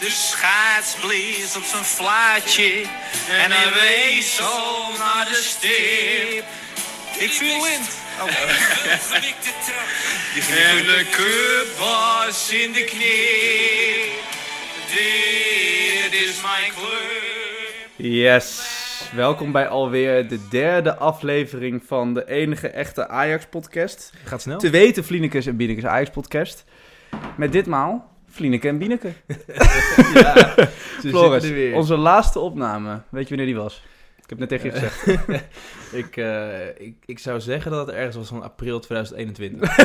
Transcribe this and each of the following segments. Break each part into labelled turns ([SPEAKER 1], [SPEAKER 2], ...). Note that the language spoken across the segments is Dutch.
[SPEAKER 1] De schaats blies op zijn vlaatje en hij wees zo naar de stip. Ik viel wind. en de cup was in de knie. Dit is mijn club.
[SPEAKER 2] Yes, welkom bij alweer de derde aflevering van de enige echte Ajax-podcast.
[SPEAKER 3] Gaat snel.
[SPEAKER 2] Te weten Vlienekes en Bienekes Ajax-podcast. Met ditmaal Vlieneke en Bieneke. Floris, onze laatste opname. Weet je wanneer die was? Ik heb net tegen je gezegd.
[SPEAKER 3] ik, eh, ik, ik zou zeggen dat het ergens was van april 2021.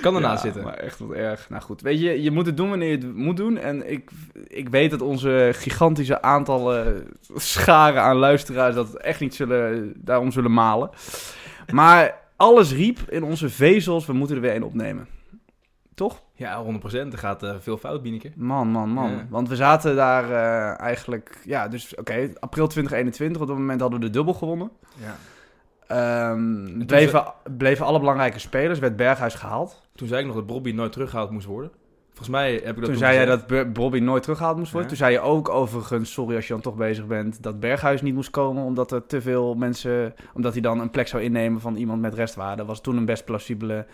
[SPEAKER 3] kan ernaast
[SPEAKER 2] Ja,
[SPEAKER 3] zitten.
[SPEAKER 2] Maar echt wat erg. Nou goed, weet je, je moet het doen wanneer je het moet doen. En ik, ik weet dat onze gigantische aantallen scharen aan luisteraars dat echt niet zullen, daarom zullen malen. Maar alles riep in onze vezels, we moeten er weer een opnemen. Toch?
[SPEAKER 3] Ja, 100%. Er gaat eh, veel fout, Bieneke.
[SPEAKER 2] Man, man, man.
[SPEAKER 3] Ja.
[SPEAKER 2] Want we zaten daar eh, eigenlijk, ja, dus oké, april 2021, op dat moment hadden we de dubbel gewonnen.
[SPEAKER 3] Ja.
[SPEAKER 2] Ehm
[SPEAKER 3] toen
[SPEAKER 2] bleven, bleven alle belangrijke spelers, werd Berghuis gehaald.
[SPEAKER 3] Toen zei ik nog dat Bobby nooit teruggehaald moest worden. Volgens mij heb ik dat
[SPEAKER 2] Toen zei jij
[SPEAKER 3] gezegd.
[SPEAKER 2] dat Br- Bobby nooit teruggehaald moest worden.
[SPEAKER 3] Ja.
[SPEAKER 2] Toen zei je ook overigens, sorry als je dan toch bezig bent, dat Berghuis niet moest komen omdat er te veel mensen, omdat hij dan een plek zou innemen van iemand met restwaarde. Dat was toen een best plausibele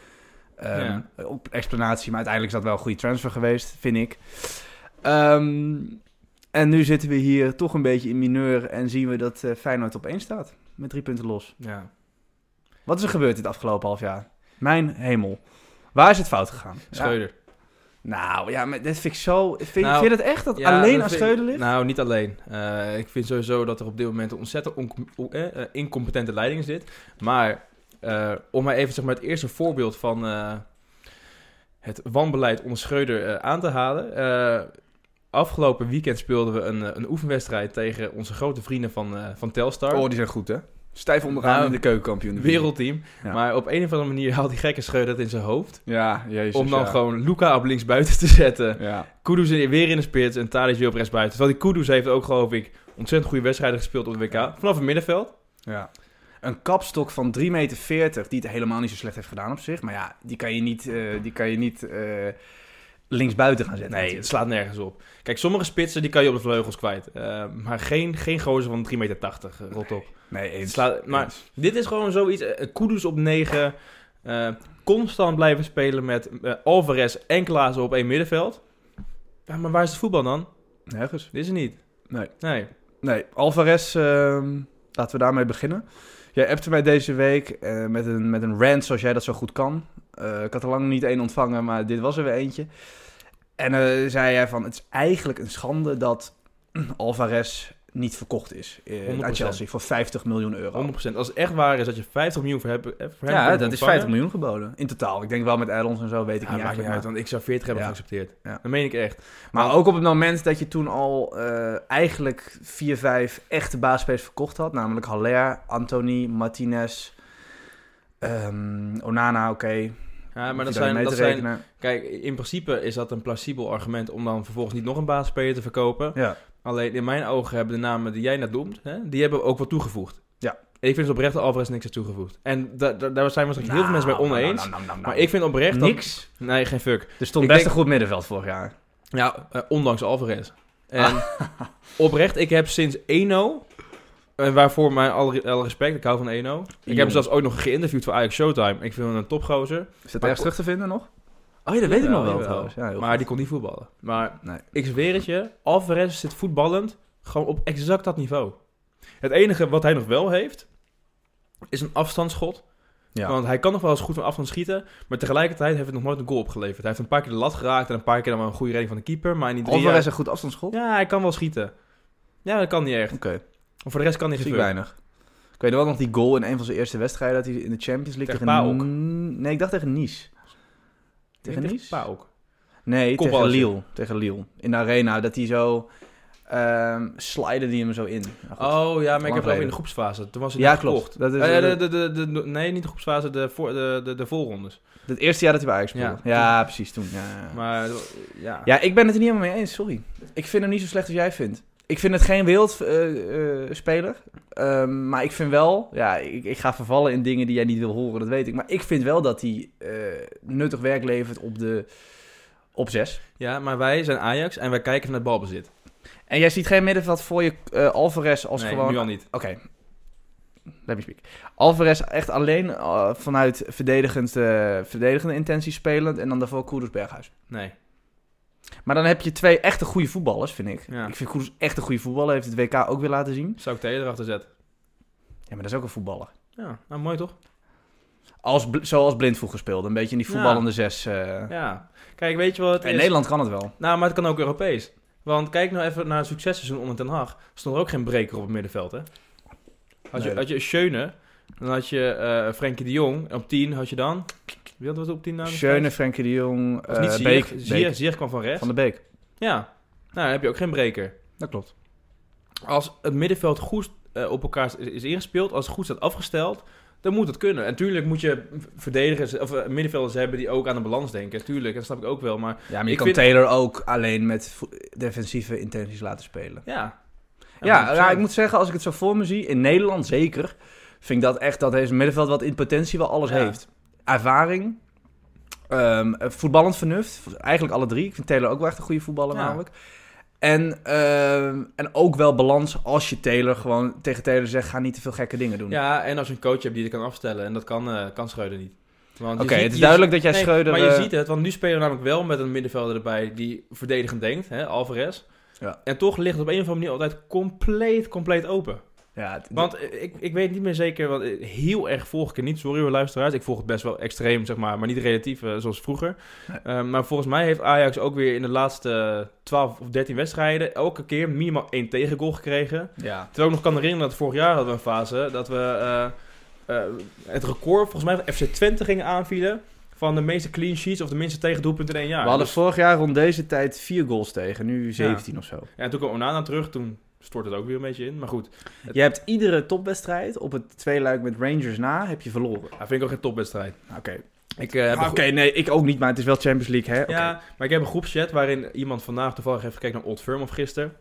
[SPEAKER 2] ehm, op- explanatie, maar uiteindelijk is dat wel een goede transfer geweest, vind ik. Ehm, en nu zitten we hier toch een beetje in mineur en zien we dat eh, Feyenoord op één staat met drie punten los.
[SPEAKER 3] Ja.
[SPEAKER 2] Wat is er gebeurd dit afgelopen half jaar? Mijn hemel. Waar is het fout gegaan? Ja.
[SPEAKER 3] Scheuder.
[SPEAKER 2] Nou ja, maar dit vind ik zo. Vind,
[SPEAKER 3] Nou,
[SPEAKER 2] vind je dat echt dat
[SPEAKER 3] Ja,
[SPEAKER 2] alleen
[SPEAKER 3] dat
[SPEAKER 2] aan
[SPEAKER 3] vind-
[SPEAKER 2] Scheuder ligt?
[SPEAKER 3] Nou, niet alleen. Eh, ik vind sowieso dat er op dit moment een ontzettend on- o- eh, eh, incompetente leiding zit. Maar eh, om maar even zeg maar, het eerste voorbeeld van eh, het wanbeleid onder Scheuder eh, aan te halen. Eh, afgelopen weekend speelden we een, eh, een oefenwedstrijd tegen onze grote vrienden van, eh, van Telstar.
[SPEAKER 2] Oh, die zijn goed hè? Stijf
[SPEAKER 3] Nou,
[SPEAKER 2] keukenkampioen.
[SPEAKER 3] een wereldteam.
[SPEAKER 2] Ja.
[SPEAKER 3] Maar op een of andere manier haalt die gekke Scheuder het in zijn hoofd.
[SPEAKER 2] Ja, jezus.
[SPEAKER 3] om dan
[SPEAKER 2] ja.
[SPEAKER 3] gewoon Luca op links buiten te zetten.
[SPEAKER 2] Ja.
[SPEAKER 3] Kudus in- weer in de spits en Tadic weer op rechtsbuiten. Terwijl die Kudus heeft ook, geloof ik, ontzettend goede wedstrijden gespeeld op de WK. Vanaf het middenveld.
[SPEAKER 2] ja. Een kapstok van 3,40 meter, die het helemaal niet zo slecht heeft gedaan op zich. Maar ja, die kan je niet, eh, die kan je niet eh, linksbuiten gaan zetten.
[SPEAKER 3] Nee, het slaat nergens op. Kijk, sommige spitsen die kan je op de vleugels kwijt. Eh, maar geen, geen gozer van 3,80 meter. eh, rot op.
[SPEAKER 2] nee
[SPEAKER 3] Het
[SPEAKER 2] eens.
[SPEAKER 3] slaat, maar
[SPEAKER 2] Eens.
[SPEAKER 3] dit is gewoon zoiets. eh, eh, Kudus op 9. constant blijven spelen met eh, Alvarez en Klaassen op één middenveld. Ja, maar waar is het voetbal dan?
[SPEAKER 2] Nergens.
[SPEAKER 3] Dit is het niet.
[SPEAKER 2] Nee.
[SPEAKER 3] Nee.
[SPEAKER 2] Nee, Alvarez, ehm, laten we daarmee beginnen. Jij appte mij deze week eh, met, een, met een rant zoals jij dat zo goed kan. Eh, ik had er lang niet één ontvangen, maar dit was er weer eentje. En eh, zei jij van, het is eigenlijk een schande dat Alvarez niet verkocht is eh,
[SPEAKER 3] 100%.
[SPEAKER 2] aan Chelsea voor 50 miljoen euro.
[SPEAKER 3] 100%. Als het echt waar is dat je 50 miljoen voor hebt. eh, Voor hem hebt
[SPEAKER 2] Ja, dat is
[SPEAKER 3] ontvangen,
[SPEAKER 2] 50 miljoen geboden in totaal. Ik denk wel met add-ons en zo, weet ik
[SPEAKER 3] Ja,
[SPEAKER 2] niet
[SPEAKER 3] maakt niet
[SPEAKER 2] eigenlijk.
[SPEAKER 3] uit,
[SPEAKER 2] maar-
[SPEAKER 3] want ik zou 40 hebben
[SPEAKER 2] Ja.
[SPEAKER 3] geaccepteerd.
[SPEAKER 2] Ja.
[SPEAKER 3] Dat meen ik echt.
[SPEAKER 2] Maar ook op het moment dat je toen al eh, eigenlijk 4, 5 echte baasspelers verkocht had. Namelijk Haller, Anthony, Martinez, ehm, Onana, oké.
[SPEAKER 3] Ja, maar
[SPEAKER 2] Hoef je daar
[SPEAKER 3] dat
[SPEAKER 2] niet
[SPEAKER 3] zijn,
[SPEAKER 2] mee
[SPEAKER 3] dat
[SPEAKER 2] te
[SPEAKER 3] zijn...
[SPEAKER 2] rekenen.
[SPEAKER 3] Kijk, in principe is dat een plausibel argument om dan vervolgens niet nog een basisspeler te verkopen.
[SPEAKER 2] Ja.
[SPEAKER 3] Alleen in mijn ogen hebben de namen die jij net noemt, hè, die hebben ook wat toegevoegd.
[SPEAKER 2] Ja.
[SPEAKER 3] En ik vind dus oprecht dat Alvarez niks heeft toegevoegd. En da- da- daar zijn waarschijnlijk heel veel mensen mee
[SPEAKER 2] Nou, nou,
[SPEAKER 3] oneens.
[SPEAKER 2] nou, nou, nou, nou.
[SPEAKER 3] Maar ik vind oprecht dat...
[SPEAKER 2] Niks.
[SPEAKER 3] Nee, geen fuck.
[SPEAKER 2] Er stond
[SPEAKER 3] Ik
[SPEAKER 2] best
[SPEAKER 3] denk-
[SPEAKER 2] een goed middenveld vorig jaar.
[SPEAKER 3] Ja, eh, ondanks Alvarez. En
[SPEAKER 2] Ah.
[SPEAKER 3] oprecht, ik heb sinds Eno, eh, waarvoor mijn alle, alle respect, ik hou van Eno. Ik heb hem
[SPEAKER 2] Jong.
[SPEAKER 3] zelfs ooit nog geïnterviewd voor Ajax Showtime. Ik vind hem een topgozer.
[SPEAKER 2] Is dat
[SPEAKER 3] Maar-
[SPEAKER 2] ergens terug te vinden nog?
[SPEAKER 3] Oh ja, dat
[SPEAKER 2] weet ik nog wel trouwens. Ja, heel
[SPEAKER 3] maar
[SPEAKER 2] goed.
[SPEAKER 3] die kon niet voetballen. Maar
[SPEAKER 2] Nee.
[SPEAKER 3] ik zweer het je, Alvarez zit voetballend gewoon op exact dat niveau. Het enige wat hij nog wel heeft, is een afstandsschot.
[SPEAKER 2] Ja.
[SPEAKER 3] Want hij kan nog wel eens goed van afstand schieten, maar tegelijkertijd heeft het nog nooit een goal opgeleverd. Hij heeft een paar keer de lat geraakt en een paar keer dan wel een goede redding van de keeper. Maar in die drie
[SPEAKER 2] Alvarez
[SPEAKER 3] jaar-
[SPEAKER 2] een goed afstandsschot?
[SPEAKER 3] Ja, hij kan wel schieten. Ja, dat kan niet echt.
[SPEAKER 2] Oké,
[SPEAKER 3] Maar voor de rest kan hij
[SPEAKER 2] zie
[SPEAKER 3] geen
[SPEAKER 2] ik
[SPEAKER 3] fuck.
[SPEAKER 2] weinig. Ik weet wel nog die goal in een van zijn eerste wedstrijden dat hij in de Champions League
[SPEAKER 3] Tegen
[SPEAKER 2] tegen... Nee, ik dacht tegen Nice. Tegen
[SPEAKER 3] Ik denk
[SPEAKER 2] Nice?
[SPEAKER 3] Pauk.
[SPEAKER 2] Nee, tegen
[SPEAKER 3] Kopballetje.
[SPEAKER 2] Lille. Tegen Lille. In de arena, dat hij zo... ehm slide die hem zo in. Nou, goed.
[SPEAKER 3] Oh ja, maar ik heb het
[SPEAKER 2] geleden.
[SPEAKER 3] over in de groepsfase. Toen was hij
[SPEAKER 2] ja,
[SPEAKER 3] nog
[SPEAKER 2] klopt.
[SPEAKER 3] gekocht.
[SPEAKER 2] Dat is,
[SPEAKER 3] Eh,
[SPEAKER 2] eh,
[SPEAKER 3] de, de, de, de- de- nee, niet de groepsfase, de, voor, de, de, de voorrondes.
[SPEAKER 2] het eerste jaar dat hij bij Ajax speelde.
[SPEAKER 3] Ja.
[SPEAKER 2] Ja, precies toen. Ja, ja.
[SPEAKER 3] Maar eh, ja.
[SPEAKER 2] ja, ik ben het er niet helemaal mee eens, sorry. Ik vind hem niet zo slecht als jij vindt. Ik vind het geen wild eh, eh, speler. Ehm, maar ik vind wel... Ja, ik, ik ga vervallen in dingen die jij niet wil horen, dat weet ik. Maar ik vind wel dat hij eh, nuttig werk levert op de... Op zes.
[SPEAKER 3] Ja, maar wij zijn Ajax en wij kijken naar balbezit.
[SPEAKER 2] En jij ziet geen middenveld voor je eh, Alvarez als
[SPEAKER 3] nee,
[SPEAKER 2] gewoon...
[SPEAKER 3] nu al niet.
[SPEAKER 2] Oké. Let me speak. Alvarez echt alleen eh, vanuit verdedigend, eh, verdedigende intentie spelend. En dan daarvoor Koerders Berghuis.
[SPEAKER 3] Nee.
[SPEAKER 2] Maar dan heb je twee echte goede voetballers, vind ik.
[SPEAKER 3] Ja.
[SPEAKER 2] Ik vind Koerders echt een goede voetballer. Heeft het WK ook weer laten zien.
[SPEAKER 3] Zou ik Taylor erachter zetten?
[SPEAKER 2] Ja, maar dat is ook een voetballer.
[SPEAKER 3] Ja, nou mooi toch?
[SPEAKER 2] Als, bl- zoals Blind vroeger speelde. Een beetje in die
[SPEAKER 3] Ja.
[SPEAKER 2] voetballende zes. eh.
[SPEAKER 3] Ja. Kijk, weet je wat het
[SPEAKER 2] In
[SPEAKER 3] is?
[SPEAKER 2] Nederland kan het wel.
[SPEAKER 3] Nou, maar het kan ook Europees. Want kijk nou even naar het successeizoen onder Ten Haag. Stond er ook geen breker op het middenveld, hè? Had je,
[SPEAKER 2] Nee.
[SPEAKER 3] had je Schöne, dan had je eh Frenkie de Jong. En op 10 had je dan... Wie had wat op 10 nou?
[SPEAKER 2] Schöne, Frenkie de Jong,
[SPEAKER 3] Of
[SPEAKER 2] eh,
[SPEAKER 3] niet Zier.
[SPEAKER 2] Beek,
[SPEAKER 3] Zier,
[SPEAKER 2] Beek.
[SPEAKER 3] Zier kwam van rechts.
[SPEAKER 2] Van de Beek.
[SPEAKER 3] Ja. Nou, dan heb je ook geen breker.
[SPEAKER 2] Dat klopt.
[SPEAKER 3] Als het middenveld goed eh, op elkaar is, is ingespeeld, als het goed staat afgesteld, dan moet het kunnen. En natuurlijk moet je verdedigers of eh, middenvelders hebben die ook aan de balans denken. Tuurlijk, dat snap ik ook wel. Maar
[SPEAKER 2] Ja, maar je
[SPEAKER 3] Ik
[SPEAKER 2] kan
[SPEAKER 3] vind-
[SPEAKER 2] Taylor ook alleen met vo- defensieve intenties laten spelen.
[SPEAKER 3] ja.
[SPEAKER 2] Ja,
[SPEAKER 3] maar-
[SPEAKER 2] ja, ik moet zeggen, als ik het zo voor me zie, in Nederland zeker, vind ik dat echt dat deze middenveld wat in potentie wel alles
[SPEAKER 3] Ja.
[SPEAKER 2] heeft. Ervaring, ehm, eh, voetballend vernuft, eigenlijk alle drie. Ik vind Taylor ook wel echt een goede voetballer
[SPEAKER 3] Ja.
[SPEAKER 2] namelijk. En, ehm, en ook wel balans als je Taylor gewoon tegen Taylor zegt, ga niet te veel gekke dingen doen.
[SPEAKER 3] Ja, en als je een coach hebt die het kan afstellen. En dat kan, eh kan Schreuder niet. Want je
[SPEAKER 2] Oké,
[SPEAKER 3] ziet-
[SPEAKER 2] het is
[SPEAKER 3] je
[SPEAKER 2] duidelijk dat jij
[SPEAKER 3] Nee,
[SPEAKER 2] Schreuder...
[SPEAKER 3] Maar je
[SPEAKER 2] eh,
[SPEAKER 3] ziet het, want nu spelen we namelijk wel met een middenvelder erbij die verdedigend denkt, hè, Alvarez.
[SPEAKER 2] Ja.
[SPEAKER 3] En toch ligt het op een of andere manier altijd compleet, compleet open.
[SPEAKER 2] ja, het-
[SPEAKER 3] Want eh, ik, ik weet niet meer zeker, want eh, heel erg volg ik het niet. Sorry hoor, luisteraars. Ik volg het best wel extreem, zeg maar, maar niet relatief eh, zoals vroeger. Eh, maar volgens mij heeft Ajax ook weer in de laatste 12 of 13 wedstrijden elke keer minimaal één tegengoal gekregen.
[SPEAKER 2] ja.
[SPEAKER 3] Terwijl ik nog kan herinneren dat vorig jaar hadden we een fase dat we eh, eh, het record volgens mij van FC Twente gingen aanvielen van de meeste clean sheets of de minste tegendoelpunten in één jaar.
[SPEAKER 2] we hadden
[SPEAKER 3] Dus-
[SPEAKER 2] vorig jaar rond deze tijd vier goals tegen, nu 17 of zo.
[SPEAKER 3] ja, en toen kwam Onana terug, toen stort het ook weer een beetje in. Maar goed,
[SPEAKER 2] Je hebt iedere topwedstrijd op het tweeluik met Rangers na, heb je verloren.
[SPEAKER 3] dat vind ik ook geen topwedstrijd.
[SPEAKER 2] Nou, Oké,
[SPEAKER 3] Ik, eh, heb
[SPEAKER 2] Oké,
[SPEAKER 3] een groep-
[SPEAKER 2] nee, ik ook niet, maar het is wel Champions League, hè? Oké.
[SPEAKER 3] Ja, maar ik heb een groepschat waarin iemand vandaag toevallig heeft gekeken naar Old Firm of gisteren.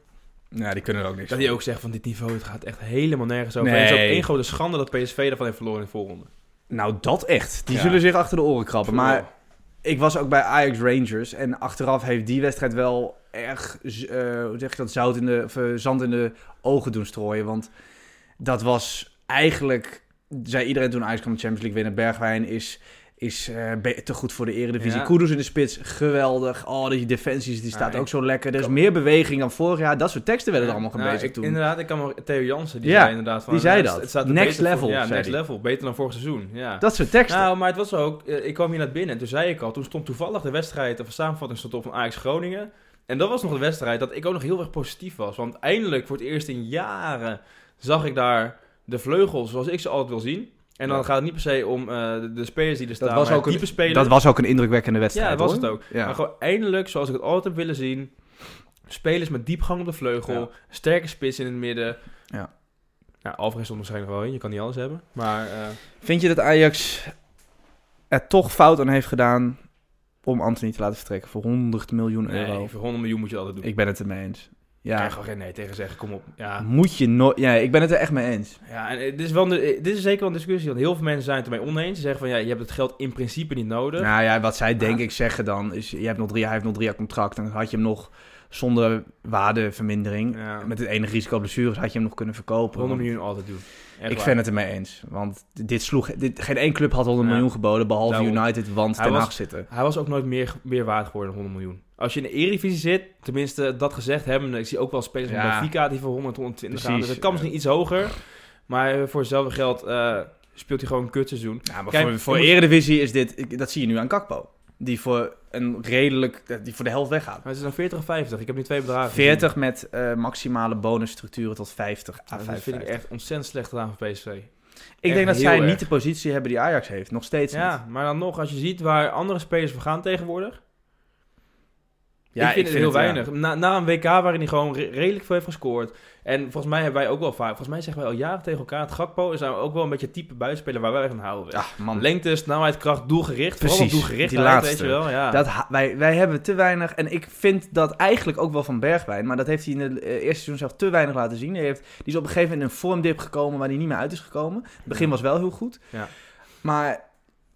[SPEAKER 2] Nou, die kunnen er ook niks
[SPEAKER 3] Dat hij ook zegt van dit niveau, het gaat echt helemaal nergens over.
[SPEAKER 2] Nee.
[SPEAKER 3] En het is ook één grote schande dat PSV daarvan heeft verloren in de voorronde.
[SPEAKER 2] Nou, dat echt. Die
[SPEAKER 3] Ja.
[SPEAKER 2] zullen zich achter de oren krabben. Maar ik was ook bij Ajax Rangers en achteraf heeft die wedstrijd wel erg, z- eh, hoe zeg je dat, zout in de, of, eh, zand in de ogen doen strooien. Want dat was eigenlijk, zei iedereen toen Ajax kwam de Champions League winnen, Bergwijn is... Is eh, be- te goed voor de Eredivisie.
[SPEAKER 3] Ja.
[SPEAKER 2] Kudus in de spits, geweldig. Oh, die defensies, die
[SPEAKER 3] Ja,
[SPEAKER 2] staat
[SPEAKER 3] ik-
[SPEAKER 2] ook zo lekker. Er is
[SPEAKER 3] kan-
[SPEAKER 2] meer beweging dan vorig jaar. Dat soort teksten werden er allemaal
[SPEAKER 3] Nou,
[SPEAKER 2] gebezigd
[SPEAKER 3] ik-
[SPEAKER 2] toen.
[SPEAKER 3] Inderdaad, ik kan me Theo Jansen, die
[SPEAKER 2] Ja,
[SPEAKER 3] zei inderdaad van...
[SPEAKER 2] die zei
[SPEAKER 3] eh,
[SPEAKER 2] dat.
[SPEAKER 3] Het staat er
[SPEAKER 2] Next
[SPEAKER 3] beter voor-
[SPEAKER 2] level,
[SPEAKER 3] ja,
[SPEAKER 2] zei
[SPEAKER 3] next
[SPEAKER 2] die.
[SPEAKER 3] level. Beter dan vorig seizoen, ja.
[SPEAKER 2] Dat soort teksten.
[SPEAKER 3] nou, maar het was ook... eh, Ik kwam hier naar binnen en toen zei ik al... Toen stond toevallig de wedstrijd, of de samenvatting stond op van Ajax Groningen. En dat was nog de wedstrijd dat ik ook nog heel erg positief was. Want eindelijk, voor het eerst in jaren, zag ik daar de vleugels zoals ik ze altijd wil zien. En dan
[SPEAKER 2] Ja.
[SPEAKER 3] gaat het niet per se om eh, de, de spelers die er staan,
[SPEAKER 2] was
[SPEAKER 3] maar
[SPEAKER 2] ook een-
[SPEAKER 3] type spelers.
[SPEAKER 2] Dat was ook een indrukwekkende wedstrijd.
[SPEAKER 3] Ja, dat was
[SPEAKER 2] hoor.
[SPEAKER 3] het ook.
[SPEAKER 2] Ja.
[SPEAKER 3] Maar gewoon eindelijk, zoals ik het altijd heb willen zien... Spelers met diepgang op de vleugel.
[SPEAKER 2] Ja.
[SPEAKER 3] Sterke spits in het midden.
[SPEAKER 2] Ja.
[SPEAKER 3] Nou, Alvarez stond waarschijnlijk wel in. Je kan niet alles hebben. Maar eh,
[SPEAKER 2] Vind je dat Ajax er toch fout aan heeft gedaan om Anthony te laten vertrekken voor 100 miljoen euro?
[SPEAKER 3] nee, voor 100 miljoen moet je altijd doen. Ik
[SPEAKER 2] Ik ben het ermee eens. Ja,
[SPEAKER 3] kan je gewoon geen nee tegen zeggen. Kom op. Ja.
[SPEAKER 2] moet je nooit... Ja, ik ben het er echt mee eens.
[SPEAKER 3] Ja, en eh, dit is, wel een- eh, dit is zeker wel een discussie. Want heel veel mensen zijn het ermee oneens. Ze zeggen van, ja, je hebt het geld in principe niet nodig.
[SPEAKER 2] Nou ja, wat zij denk ik zeggen dan is... Je hebt nog drie, hij heeft nog drie jaar contract. Dan had je hem nog zonder waardevermindering...
[SPEAKER 3] Ja.
[SPEAKER 2] Met het enige risico op blessures had je hem nog kunnen verkopen.
[SPEAKER 3] 100
[SPEAKER 2] want
[SPEAKER 3] miljoen altijd doen. Echt
[SPEAKER 2] Ik
[SPEAKER 3] waar.
[SPEAKER 2] vind het ermee eens. Want dit sloeg... Dit, geen één club had 100
[SPEAKER 3] Ja.
[SPEAKER 2] miljoen geboden, behalve
[SPEAKER 3] Daarom.
[SPEAKER 2] United, want
[SPEAKER 3] Hij
[SPEAKER 2] Ten
[SPEAKER 3] was-
[SPEAKER 2] Hag zitten.
[SPEAKER 3] Hij was ook nooit meer, meer waard geworden dan 100 miljoen. Als je in de Eredivisie zit, tenminste dat gezegd hebben, ik zie ook wel spelers van
[SPEAKER 2] Ja.
[SPEAKER 3] Benfica die voor 100, 120 gaan.
[SPEAKER 2] Precies.
[SPEAKER 3] Dus de kans is niet iets hoger. Maar eh, voor hetzelfde geld eh, speelt hij gewoon een kutseizoen.
[SPEAKER 2] Ja, maar
[SPEAKER 3] Kijk,
[SPEAKER 2] voor, voor
[SPEAKER 3] je moet-
[SPEAKER 2] Eredivisie is dit... ik- Dat zie je nu aan Kakpo. Die voor een redelijk... Die voor de helft weggaat.
[SPEAKER 3] Maar het is dan 40 of 50. Ik heb nu twee bedragen. gezien.
[SPEAKER 2] 40 met eh, maximale bonusstructuren tot 50 à
[SPEAKER 3] Ja, dat vind ik
[SPEAKER 2] 55. Ik,
[SPEAKER 3] echt ontzettend slecht gedaan voor PSV.
[SPEAKER 2] denk
[SPEAKER 3] echt heel
[SPEAKER 2] dat zij
[SPEAKER 3] erg.
[SPEAKER 2] niet de positie hebben die Ajax heeft. Nog steeds niet.
[SPEAKER 3] Ja, maar dan nog, als je ziet waar andere spelers voor gaan tegenwoordig.
[SPEAKER 2] Ja,
[SPEAKER 3] ik vind het heel
[SPEAKER 2] ja.
[SPEAKER 3] weinig. Na, na een WK waarin hij gewoon re- redelijk veel heeft gescoord. En volgens mij hebben wij ook wel vaak... Volgens mij zeggen wij al jaren tegen elkaar... Het Gakpo is nou ook wel een beetje het type buitenspeler waar wij van houden.
[SPEAKER 2] Ja, man.
[SPEAKER 3] Lengte, snelheid, kracht, doelgericht. Vooral
[SPEAKER 2] Precies,
[SPEAKER 3] dat doelgericht,
[SPEAKER 2] die
[SPEAKER 3] weet
[SPEAKER 2] laatste.
[SPEAKER 3] je wel. Ja.
[SPEAKER 2] Dat, ha- wij, wij hebben te weinig. En ik vind dat eigenlijk ook wel van Bergwijn. Maar dat heeft hij in het eh, eerste seizoen zelf te weinig laten zien. Hij heeft, die is op een gegeven moment in een vormdip gekomen waar hij niet meer uit is gekomen. Het begin was wel heel goed.
[SPEAKER 3] Ja.
[SPEAKER 2] Maar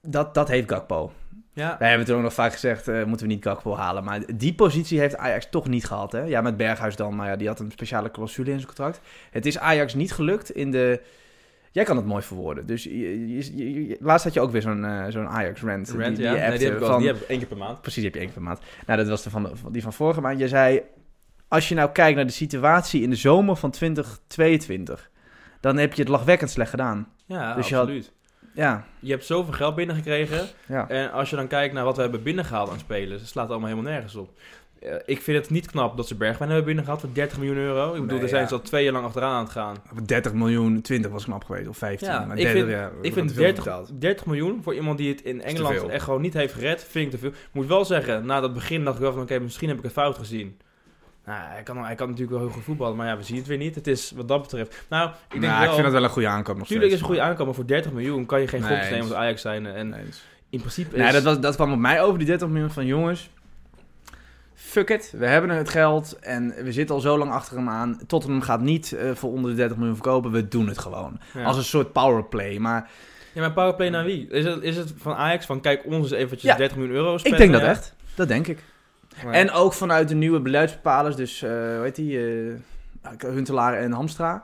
[SPEAKER 2] dat, dat heeft Gakpo.
[SPEAKER 3] Ja.
[SPEAKER 2] Wij hebben toen ook nog vaak gezegd, eh, moeten we niet Gakpo halen. Maar die positie heeft Ajax toch niet gehad. Hè? Ja, met Berghuis dan, maar ja, die had een speciale clausule in zijn contract. Het is Ajax niet gelukt in de... Jij kan het mooi verwoorden. Dus je- je- je- je- laatst had je ook weer zo'n eh, zo'n Ajax-rant.
[SPEAKER 3] Rand, ja.
[SPEAKER 2] appte
[SPEAKER 3] nee, die, heb ik wel,
[SPEAKER 2] van-
[SPEAKER 3] die heb ik één keer per maand.
[SPEAKER 2] Precies, die heb je één keer per maand. Nou, dat was de van de- van- die van vorige maand. Je zei, als je nou kijkt naar de situatie in de zomer van 2022... dan heb je het lachwekkend slecht gedaan.
[SPEAKER 3] Ja,
[SPEAKER 2] Dus je had-
[SPEAKER 3] absoluut.
[SPEAKER 2] Ja,
[SPEAKER 3] Je hebt zoveel geld binnengekregen.
[SPEAKER 2] ja.
[SPEAKER 3] En als je dan kijkt naar wat we hebben binnengehaald aan spelers, dat slaat allemaal helemaal nergens op. Eh, Ik vind het niet knap dat ze Bergwijn hebben binnengehaald voor 30 miljoen euro. Ik bedoel,
[SPEAKER 2] Nee,
[SPEAKER 3] daar zijn
[SPEAKER 2] ja.
[SPEAKER 3] ze al twee jaar lang achteraan aan het gaan.
[SPEAKER 2] 30 miljoen, 20 was knap geweest, of 15.
[SPEAKER 3] Ja,
[SPEAKER 2] maar
[SPEAKER 3] ik
[SPEAKER 2] 30,
[SPEAKER 3] vind-
[SPEAKER 2] ja,
[SPEAKER 3] Ik
[SPEAKER 2] wordt
[SPEAKER 3] vind
[SPEAKER 2] veel
[SPEAKER 3] 30,
[SPEAKER 2] betaald.
[SPEAKER 3] 30 miljoen voor iemand die het in Engeland
[SPEAKER 2] veel.
[SPEAKER 3] echt gewoon niet heeft gered, vind ik te veel. Ik Moet wel zeggen, na dat begin dacht ik wel van oké, misschien heb ik het fout gezien. Nou, hij kan, hij kan natuurlijk wel heel goed voetballen, maar ja, we zien het weer niet. Het is wat dat betreft. Nou, ik denk
[SPEAKER 2] Nou,
[SPEAKER 3] wel...
[SPEAKER 2] ik vind dat wel een goede aankoop nog
[SPEAKER 3] Natuurlijk is
[SPEAKER 2] steeds.
[SPEAKER 3] het een goede aankoop, maar voor 30 miljoen kan je geen
[SPEAKER 2] Nee,
[SPEAKER 3] gokjes nemen
[SPEAKER 2] eens.
[SPEAKER 3] als Ajax zijn. En
[SPEAKER 2] Eens.
[SPEAKER 3] in principe is...
[SPEAKER 2] Nou, dat, was, dat kwam op mij over, die 30 miljoen van jongens. Fuck it, we hebben het geld en we zitten al zo lang achter hem aan. Tottenham gaat niet eh, voor onder de 30 miljoen verkopen, we doen het gewoon.
[SPEAKER 3] ja.
[SPEAKER 2] Als een soort powerplay, maar
[SPEAKER 3] Ja, maar powerplay naar wie? Is het, is het van Ajax van kijk ons eens eventjes
[SPEAKER 2] Ja.
[SPEAKER 3] 30 miljoen euro
[SPEAKER 2] ik
[SPEAKER 3] spenden?
[SPEAKER 2] denk dat
[SPEAKER 3] Ja.
[SPEAKER 2] echt. Dat denk ik.
[SPEAKER 3] Maar-
[SPEAKER 2] En ook vanuit de nieuwe beleidsbepalers, dus eh hoe heet die? eh, Huntelaar en Hamstra.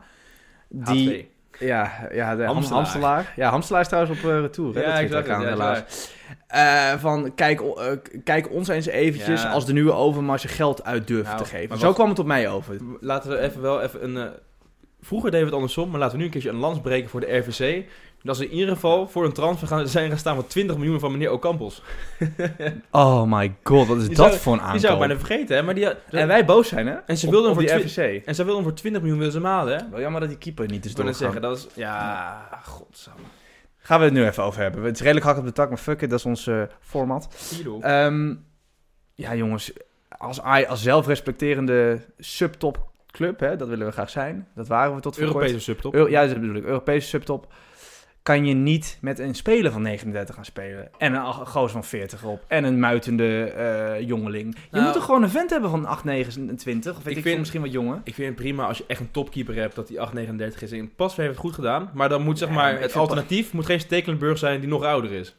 [SPEAKER 2] Die,
[SPEAKER 3] HV.
[SPEAKER 2] Ja, ja de
[SPEAKER 3] Hamselaar.
[SPEAKER 2] Hamselaar. Ja, Hamselaar is trouwens op eh, retour. Hè?
[SPEAKER 3] Ja,
[SPEAKER 2] dat
[SPEAKER 3] ik
[SPEAKER 2] zit
[SPEAKER 3] zag
[SPEAKER 2] daar aan,
[SPEAKER 3] het, ja,
[SPEAKER 2] helaas. Eh, van, kijk, o- eh, k- kijk ons eens eventjes
[SPEAKER 3] Ja.
[SPEAKER 2] als de nieuwe overmars je geld uit durft
[SPEAKER 3] Nou,
[SPEAKER 2] te
[SPEAKER 3] maar
[SPEAKER 2] geven.
[SPEAKER 3] wat-
[SPEAKER 2] Zo kwam het op mij over.
[SPEAKER 3] Laten we even wel even een... eh, Vroeger deden we het andersom, maar laten we nu een keertje een lans breken voor de RVC. Dat ze in ieder geval voor een transfer gaan, zijn gaan staan van 20 miljoen van meneer Ocampos.
[SPEAKER 2] Oh my god, wat is
[SPEAKER 3] Die
[SPEAKER 2] dat
[SPEAKER 3] zou-
[SPEAKER 2] voor een
[SPEAKER 3] Die zou ik
[SPEAKER 2] aankoop?
[SPEAKER 3] bijna vergeten, hè? Maar die,
[SPEAKER 2] En wij boos zijn, hè?
[SPEAKER 3] en ze
[SPEAKER 2] Op-
[SPEAKER 3] wilden hem
[SPEAKER 2] op
[SPEAKER 3] voor
[SPEAKER 2] die
[SPEAKER 3] twi-
[SPEAKER 2] RVC.
[SPEAKER 3] En ze wilden hem voor 20 miljoen willen ze hem halen, hè?
[SPEAKER 2] Wel jammer dat die keeper niet is
[SPEAKER 3] Ik wil net
[SPEAKER 2] doorgegaan.
[SPEAKER 3] zeggen, dat is... Ja, godsamme.
[SPEAKER 2] Gaan we het nu even over hebben. Het is redelijk hak op de tak, maar fuck it, dat is ons eh, format.
[SPEAKER 3] Tiro.
[SPEAKER 2] Ehm, ja, jongens. Als, Aj- als zelfrespecterende subtopclub, hè, dat willen we graag zijn. Dat waren we tot voor
[SPEAKER 3] Europese
[SPEAKER 2] kort.
[SPEAKER 3] subtop.
[SPEAKER 2] Euro- ja, dat bedoel ik. Europese subtop. Kan je niet met een speler van 39 gaan spelen. En een ach- gozer van 40 op. En een muitende eh, jongeling. Je
[SPEAKER 3] Nou,
[SPEAKER 2] moet toch gewoon een vent hebben van 8, 29. Of weet
[SPEAKER 3] ik
[SPEAKER 2] ik,
[SPEAKER 3] vind-
[SPEAKER 2] veel, misschien wat jonger.
[SPEAKER 3] Ik vind het prima als je echt een topkeeper hebt dat die 8,39 is. En Pasveer heeft het goed gedaan, maar dan moet zeg
[SPEAKER 2] Ja,
[SPEAKER 3] maar,
[SPEAKER 2] maar ik
[SPEAKER 3] het
[SPEAKER 2] vind
[SPEAKER 3] alternatief moet geen Stekelenburg zijn die nog ouder is.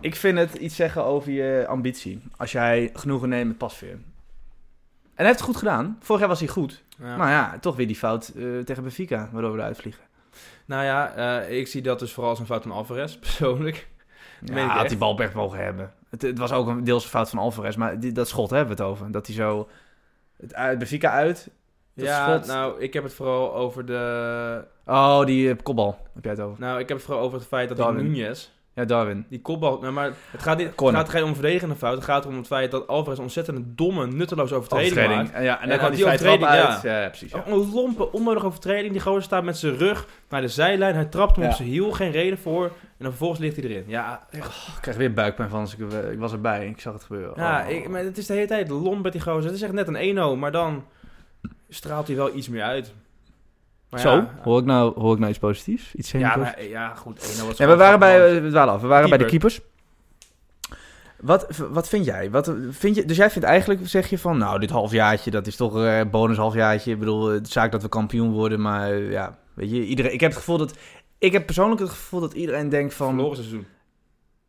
[SPEAKER 2] Ik vind het iets zeggen over je ambitie. Als jij genoegen neemt met pasveer. En hij heeft het goed gedaan. Vorig jaar was hij goed.
[SPEAKER 3] Ja.
[SPEAKER 2] Maar ja, toch weer die fout eh, tegen Benfica, waardoor we eruit vliegen.
[SPEAKER 3] Nou ja, eh, ik zie dat dus vooral als een fout van Alvarez, persoonlijk.
[SPEAKER 2] Ja,
[SPEAKER 3] Meen ik
[SPEAKER 2] had
[SPEAKER 3] echt?
[SPEAKER 2] die bal weg mogen hebben. Het, het was ook een deels een fout van Alvarez, maar die- dat schot hebben we het over. Dat hij zo... Het uit, Benfica uit. Dat
[SPEAKER 3] ja,
[SPEAKER 2] schot.
[SPEAKER 3] nou, ik heb het vooral over de...
[SPEAKER 2] Oh, die eh, kopbal. Heb jij het over?
[SPEAKER 3] Nou, ik heb het vooral over het feit dat die
[SPEAKER 2] Darwin.
[SPEAKER 3] Nunez,
[SPEAKER 2] Ja, Darwin.
[SPEAKER 3] die kopbal... Nou, maar het gaat, niet, het
[SPEAKER 2] Corner.
[SPEAKER 3] gaat geen om verdedigende fout, het gaat om het feit dat Alvarez een ontzettend domme, nutteloze overtreding, maakt.
[SPEAKER 2] Eh, Ja,
[SPEAKER 3] Ja,
[SPEAKER 2] en dan kwam die,
[SPEAKER 3] die
[SPEAKER 2] vrije trap
[SPEAKER 3] overtreding,
[SPEAKER 2] uit. Ja, precies. ja.
[SPEAKER 3] Een lompe, onnodige overtreding. Die gozer staat met zijn rug naar de zijlijn. Hij trapt hem
[SPEAKER 2] Ja.
[SPEAKER 3] op zijn hiel. Geen reden voor. En dan vervolgens ligt hij erin. Ja, echt.
[SPEAKER 2] Ik krijg weer buikpijn van, als ik, eh, ik was erbij. Ik zag het gebeuren.
[SPEAKER 3] ja
[SPEAKER 2] Oh.
[SPEAKER 3] ik, maar het is de hele tijd lomp met die gozer. Het is echt net een eno. Maar dan straalt hij wel iets meer uit. Maar
[SPEAKER 2] Zo,
[SPEAKER 3] Ja,
[SPEAKER 2] hoor ik, nou, hoor ik nou iets positiefs? Iets
[SPEAKER 3] ja,
[SPEAKER 2] zenuwachtigs?
[SPEAKER 3] maar- ja, goed. Eno was
[SPEAKER 2] Ja, we
[SPEAKER 3] gewoon
[SPEAKER 2] waren bij, eh,
[SPEAKER 3] grappig.
[SPEAKER 2] we dwalen af. We waren bij de
[SPEAKER 3] Keeper.
[SPEAKER 2] keepers. Wat, wat vind jij? Wat, vind je? Dus jij vindt eigenlijk, zeg je van, nou, dit halfjaartje, dat is toch een bonus halfjaartje. Ik bedoel, het is zaak dat we kampioen worden, maar eh, ja, weet je, iedereen, ik heb het gevoel dat, ik heb persoonlijk het gevoel dat iedereen denkt van,
[SPEAKER 3] Verloren seizoen.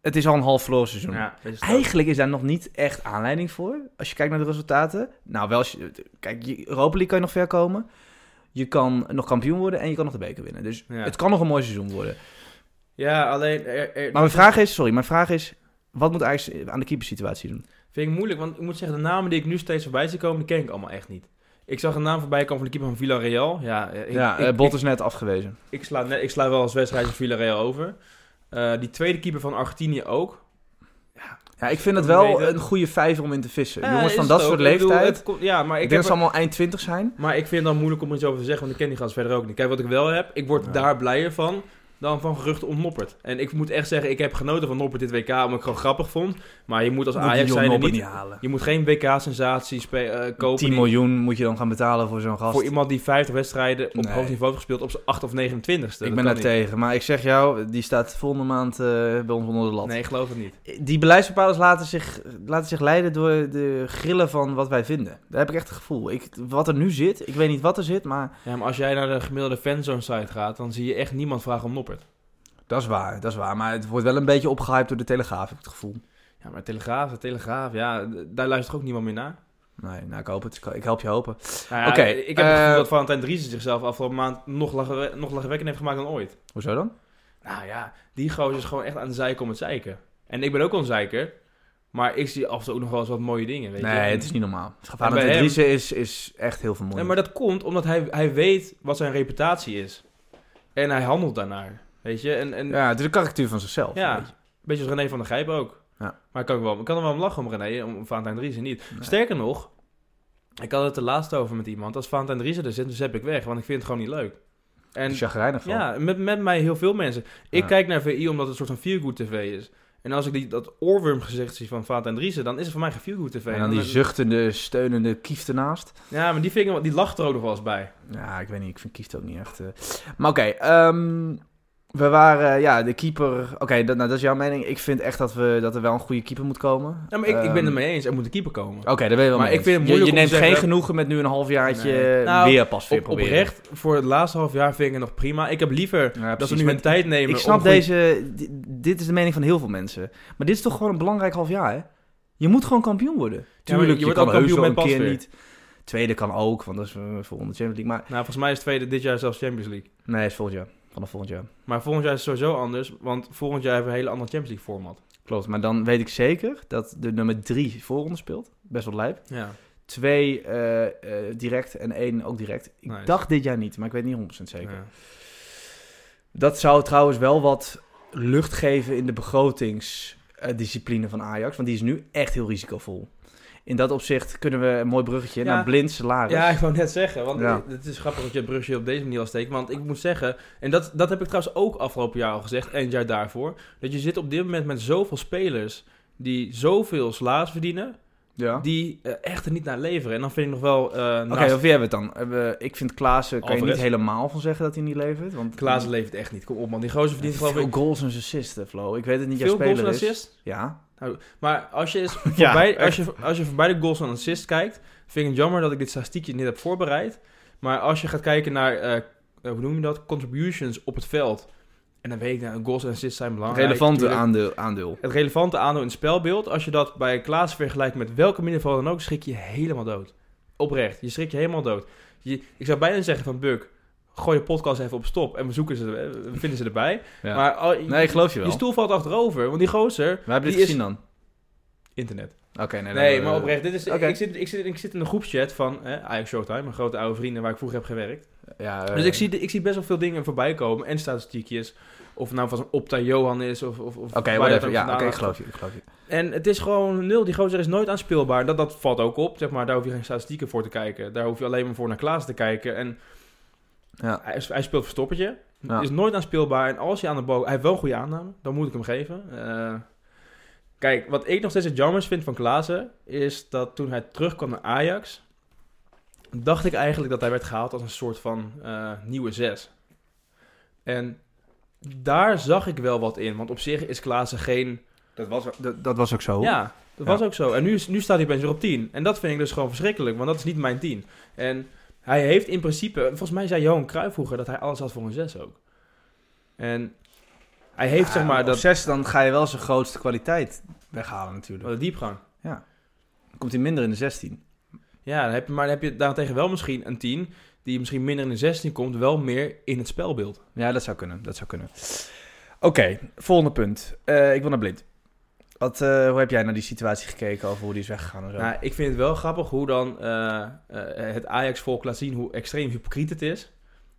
[SPEAKER 2] het is al een half verloren seizoen.
[SPEAKER 3] Ja, is het ook.
[SPEAKER 2] Eigenlijk is daar nog niet echt aanleiding voor, als je kijkt naar de resultaten. Nou, wel als je, kijk, je- Europa League kan je nog ver komen. Je kan nog kampioen worden en je kan nog de beker winnen. Dus
[SPEAKER 3] Ja.
[SPEAKER 2] het kan nog een mooi seizoen worden.
[SPEAKER 3] ja alleen... Er, er-
[SPEAKER 2] Maar mijn vraag is, sorry, mijn vraag is, wat moet Ajax aan de keepersituatie doen?
[SPEAKER 3] Vind ik moeilijk, want ik moet zeggen, de namen die ik nu steeds voorbij zie komen, die ken ik allemaal echt niet. Ik zag een naam voorbij komen van de keeper van Villarreal. Ja, eh, ik,
[SPEAKER 2] ja,
[SPEAKER 3] ik,
[SPEAKER 2] eh, Bot is net afgewezen.
[SPEAKER 3] Ik sla, net, ik sla wel als wedstrijd van Villarreal over. Eh, die tweede keeper van Argentinië ook.
[SPEAKER 2] Ja, ik vind het
[SPEAKER 3] Weet
[SPEAKER 2] wel
[SPEAKER 3] het.
[SPEAKER 2] een goede vijver om in te vissen.
[SPEAKER 3] Ja,
[SPEAKER 2] Jongens
[SPEAKER 3] is
[SPEAKER 2] van
[SPEAKER 3] het
[SPEAKER 2] dat
[SPEAKER 3] ook.
[SPEAKER 2] soort
[SPEAKER 3] Ik bedoel,
[SPEAKER 2] leeftijd, ik,
[SPEAKER 3] het komt- ja, maar ik,
[SPEAKER 2] denk
[SPEAKER 3] heb,
[SPEAKER 2] dat ze allemaal eind 20 zijn.
[SPEAKER 3] maar ik vind het dan moeilijk om er iets over te zeggen, want ik ken die gast verder ook niet. Kijk, wat ik wel heb, ik word
[SPEAKER 2] Ja.
[SPEAKER 3] daar blijer van dan van geruchten om Noppert. En ik moet echt zeggen, ik heb genoten van Noppert dit WK, omdat ik het gewoon grappig vond. Maar je moet als
[SPEAKER 2] Moet
[SPEAKER 3] Ajax
[SPEAKER 2] die John
[SPEAKER 3] zijn er
[SPEAKER 2] Nobbert
[SPEAKER 3] niet...
[SPEAKER 2] halen.
[SPEAKER 3] Je moet geen WK-sensatie spe- eh, kopen
[SPEAKER 2] 10
[SPEAKER 3] die-
[SPEAKER 2] miljoen moet je dan gaan betalen voor zo'n gast.
[SPEAKER 3] voor iemand die 50 wedstrijden op
[SPEAKER 2] Nee.
[SPEAKER 3] hoog niveau heeft gespeeld op zijn 8 of 29ste. Dat
[SPEAKER 2] ik
[SPEAKER 3] kan
[SPEAKER 2] ben daar
[SPEAKER 3] niet.
[SPEAKER 2] tegen, maar ik zeg jou, die staat volgende maand eh, bij ons onder de lat.
[SPEAKER 3] Nee, ik geloof het niet.
[SPEAKER 2] Die beleidsbepalers laten zich, laten zich leiden door de grillen van wat wij vinden. Daar heb ik echt het gevoel. Ik, wat er nu zit, ik weet niet wat er zit, maar...
[SPEAKER 3] Ja, maar als jij naar de gemiddelde fanzone-site gaat, dan zie je echt niemand vragen om Noppert.
[SPEAKER 2] Dat is waar, dat is waar. Maar het wordt wel een beetje opgehyped door de Telegraaf, heb ik het gevoel.
[SPEAKER 3] Ja, maar Telegraaf, de Telegraaf, ja, d- daar luistert ook niemand meer naar.
[SPEAKER 2] Nee, nou, ik hoop het. Ik- Ik help je hopen.
[SPEAKER 3] Nou ja,
[SPEAKER 2] Oké,
[SPEAKER 3] ik heb het gevoel
[SPEAKER 2] eh,
[SPEAKER 3] dat Valentijn Driessen zichzelf afgelopen maand nog, lachen, nog lachwekkend heeft gemaakt dan ooit.
[SPEAKER 2] Hoezo dan?
[SPEAKER 3] Nou ja, die gozer is gewoon echt aan de zeiken om het zeiken. En ik ben ook wel een zeiker, maar ik zie af en toe ook nog wel eens wat mooie dingen, weet je.
[SPEAKER 2] Nee, het is niet normaal.
[SPEAKER 3] En bij
[SPEAKER 2] Valentijn
[SPEAKER 3] hem-
[SPEAKER 2] Driessen is, is echt heel vermoeiend.
[SPEAKER 3] Nee, maar dat komt omdat hij, hij weet wat zijn reputatie is. En hij handelt daarnaar, weet je. En, en
[SPEAKER 2] Ja, het is een karikatuur van zichzelf.
[SPEAKER 3] Ja,
[SPEAKER 2] weet
[SPEAKER 3] een
[SPEAKER 2] je.
[SPEAKER 3] beetje als René van der Gijp ook.
[SPEAKER 2] Ja.
[SPEAKER 3] Maar ik kan, ook wel, ik kan er wel om lachen om René, om Valentijn Driessen niet.
[SPEAKER 2] Nee.
[SPEAKER 3] Sterker nog, ik had het de laatste over met iemand. Als Valentijn Driessen er zit, dan zet ik weg, want ik vind het gewoon niet leuk. En
[SPEAKER 2] Een chagrijnig van.
[SPEAKER 3] ja, met, met mij heel veel mensen. Ik
[SPEAKER 2] Dus Ja.
[SPEAKER 3] kijk naar VI omdat het een soort van feel-good tv is. En als ik die, dat oorwormgezicht zie van Valentijn Driessen, dan is het voor mij geen feel-good tv.
[SPEAKER 2] En dan die zuchtende, steunende kieft ernaast.
[SPEAKER 3] Ja, maar die, vinger, die lacht er ook nog wel eens bij.
[SPEAKER 2] Ja, ik weet niet. Ik vind kieft ook niet echt... eh. Maar oké, ehm, we waren... Ja, de keeper... Oké, dat, nou, dat is jouw mening. Ik vind echt dat, we, dat er wel een goede keeper moet komen.
[SPEAKER 3] Ja, Nou, maar ik, ik ben
[SPEAKER 2] Ehm,
[SPEAKER 3] het mee eens, er moet een keeper komen.
[SPEAKER 2] Oké, daar ben je wel
[SPEAKER 3] Maar
[SPEAKER 2] mee
[SPEAKER 3] ik
[SPEAKER 2] eens.
[SPEAKER 3] vind het
[SPEAKER 2] Je- je,
[SPEAKER 3] moeilijk om
[SPEAKER 2] neemt
[SPEAKER 3] te
[SPEAKER 2] geen
[SPEAKER 3] zeggen-
[SPEAKER 2] genoegen met nu een halfjaartje
[SPEAKER 3] Nee. Nou,
[SPEAKER 2] weer pas weer
[SPEAKER 3] Op,
[SPEAKER 2] proberen.
[SPEAKER 3] oprecht, voor het laatste half jaar vind ik het nog prima. Ik heb liever
[SPEAKER 2] Ja,
[SPEAKER 3] dat ze
[SPEAKER 2] precies.
[SPEAKER 3] nu hun tijd nemen
[SPEAKER 2] Ik
[SPEAKER 3] om
[SPEAKER 2] snap
[SPEAKER 3] voor-
[SPEAKER 2] deze... di- Dit is de mening van heel veel mensen. Maar dit is toch gewoon een belangrijk half jaar, hè? Je moet gewoon kampioen worden. Tuurlijk,
[SPEAKER 3] je
[SPEAKER 2] je,
[SPEAKER 3] wordt
[SPEAKER 2] kan
[SPEAKER 3] al
[SPEAKER 2] heus
[SPEAKER 3] kampioen
[SPEAKER 2] wel een
[SPEAKER 3] met
[SPEAKER 2] keer
[SPEAKER 3] Pasveer.
[SPEAKER 2] niet. Tweede kan ook, want dat is eh, volgende Champions League. Maar
[SPEAKER 3] Nou, volgens mij is het tweede dit jaar zelfs Champions League.
[SPEAKER 2] nee, is volgend jaar. Vanaf volgend jaar.
[SPEAKER 3] Maar volgend jaar is het sowieso anders, want volgend jaar hebben we een hele andere Champions League format.
[SPEAKER 2] Klopt. Maar dan weet ik zeker dat de nummer drie voorronde speelt. Best wel lijp.
[SPEAKER 3] Ja.
[SPEAKER 2] Twee eh, eh, direct en één ook direct. Ik
[SPEAKER 3] Nice.
[SPEAKER 2] dacht dit jaar niet, maar ik weet niet 100% zeker.
[SPEAKER 3] Ja.
[SPEAKER 2] Dat zou trouwens wel wat lucht geven in de begrotingsdiscipline van Ajax. Want die is nu echt heel risicovol. In dat opzicht kunnen we een mooi bruggetje
[SPEAKER 3] Ja.
[SPEAKER 2] naar blind salaris.
[SPEAKER 3] Ja, ik wou net zeggen, want
[SPEAKER 2] Ja.
[SPEAKER 3] het is grappig dat je het brugje op deze manier al steekt. Want ik moet zeggen, en dat, dat heb ik trouwens ook afgelopen jaar al gezegd en het jaar daarvoor, dat je zit op dit moment met zoveel spelers die zoveel salaris verdienen,
[SPEAKER 2] Ja.
[SPEAKER 3] die eh, echt er niet naar leveren. En dan vind ik nog wel, eh
[SPEAKER 2] Oké,
[SPEAKER 3] naast-
[SPEAKER 2] of wie hebben we het dan? Hebben we- ik vind Klaassen, kan je
[SPEAKER 3] Alvarez.
[SPEAKER 2] niet helemaal van zeggen dat hij niet levert. Want
[SPEAKER 3] Klaassen levert echt niet. Kom op man, die gozer verdient
[SPEAKER 2] Veel
[SPEAKER 3] geloof ik
[SPEAKER 2] goals en assists, hè, Flo. Ik weet het niet, jouw
[SPEAKER 3] veel goals en
[SPEAKER 2] speler is.
[SPEAKER 3] assists.
[SPEAKER 2] Ja.
[SPEAKER 3] Maar als je, eens
[SPEAKER 2] Ja,
[SPEAKER 3] voorbij,
[SPEAKER 2] echt.
[SPEAKER 3] als, je, als je voorbij de goals en assists kijkt, vind ik het jammer dat ik dit statistiekje niet heb voorbereid. Maar als je gaat kijken naar, eh, eh, hoe noem je dat, contributions op het veld. En dan weet ik, nou, goals en assists zijn belangrijk.
[SPEAKER 2] Relevante
[SPEAKER 3] natuurlijk.
[SPEAKER 2] aandeel, aandeel.
[SPEAKER 3] Het relevante aandeel in het spelbeeld, als je dat bij Klaas vergelijkt met welke middenvelder dan ook, schrik je helemaal dood. Oprecht, je schrik je helemaal dood. Je, ik zou bijna zeggen van, Buk, gooi je podcast even op stop en we, zoeken ze, we vinden ze erbij.
[SPEAKER 2] Ja.
[SPEAKER 3] Maar, al-
[SPEAKER 2] nee, ik geloof je wel.
[SPEAKER 3] je stoel valt achterover, want die gozer,
[SPEAKER 2] We hebben dit
[SPEAKER 3] die is-
[SPEAKER 2] gezien dan.
[SPEAKER 3] internet.
[SPEAKER 2] Oké, nee.
[SPEAKER 3] Nee,
[SPEAKER 2] dan-
[SPEAKER 3] maar oprecht. Dit is,
[SPEAKER 2] Oké.
[SPEAKER 3] ik, zit, ik, zit, ik zit in een groepschat van eh, Ajax Showtime, mijn grote oude vrienden waar ik vroeger heb gewerkt.
[SPEAKER 2] Ja, eh,
[SPEAKER 3] Dus ik zie, de- ik zie best wel veel dingen voorbij komen en statistiekjes. Of het nou van zo'n Opta Johan is of... of, of
[SPEAKER 2] Oké,
[SPEAKER 3] waar dat
[SPEAKER 2] whatever.
[SPEAKER 3] ook
[SPEAKER 2] Ja, oké,
[SPEAKER 3] vandaan
[SPEAKER 2] ik geloof je. Ik geloof je.
[SPEAKER 3] En het is gewoon nul. Die gozer is nooit aanspeelbaar. Dat, dat valt ook op, zeg maar. Daar hoef je geen statistieken voor te kijken. Daar hoef je alleen maar voor naar Klaas te kijken. En
[SPEAKER 2] Ja.
[SPEAKER 3] hij, hij speelt verstoppertje.
[SPEAKER 2] Ja.
[SPEAKER 3] Is nooit aanspeelbaar. En als hij aan de bal... Hij heeft wel een goede aanname. Dan moet ik hem geven. Eh, kijk, wat ik nog steeds het jammers vind van Klaassen... is dat toen hij terugkwam naar Ajax... dacht ik eigenlijk dat hij werd gehaald als een soort van eh, nieuwe zes. En daar zag ik wel wat in. Want op zich is Klaassen geen...
[SPEAKER 2] Dat was, dat, dat was ook zo.
[SPEAKER 3] Ja, dat
[SPEAKER 2] Ja.
[SPEAKER 3] was ook zo. En nu, is- nu staat hij opeens weer op 10. En dat vind ik dus gewoon verschrikkelijk, want dat is niet mijn 10. En hij heeft in principe, volgens mij zei Johan Cruijff vroeger dat hij alles had voor een 6 ook. En hij heeft zeg maar dat
[SPEAKER 2] zes, dan ga je wel zijn grootste kwaliteit weghalen natuurlijk.
[SPEAKER 3] de diepgang.
[SPEAKER 2] Dan komt hij minder in de 16.
[SPEAKER 3] Ja, dan heb je, maar dan heb je daartegen wel misschien een 10 die misschien minder in de 16 komt, wel meer in het spelbeeld.
[SPEAKER 2] Ja, dat zou kunnen. Dat zou kunnen. Oké, volgende punt. Eh, ik wil naar Blind. Wat, eh, hoe heb jij naar die situatie gekeken over hoe die is weggegaan en zo?
[SPEAKER 3] Nou, ik vind het wel grappig hoe dan eh, eh, het Ajax-volk laat zien hoe extreem hypocriet het is.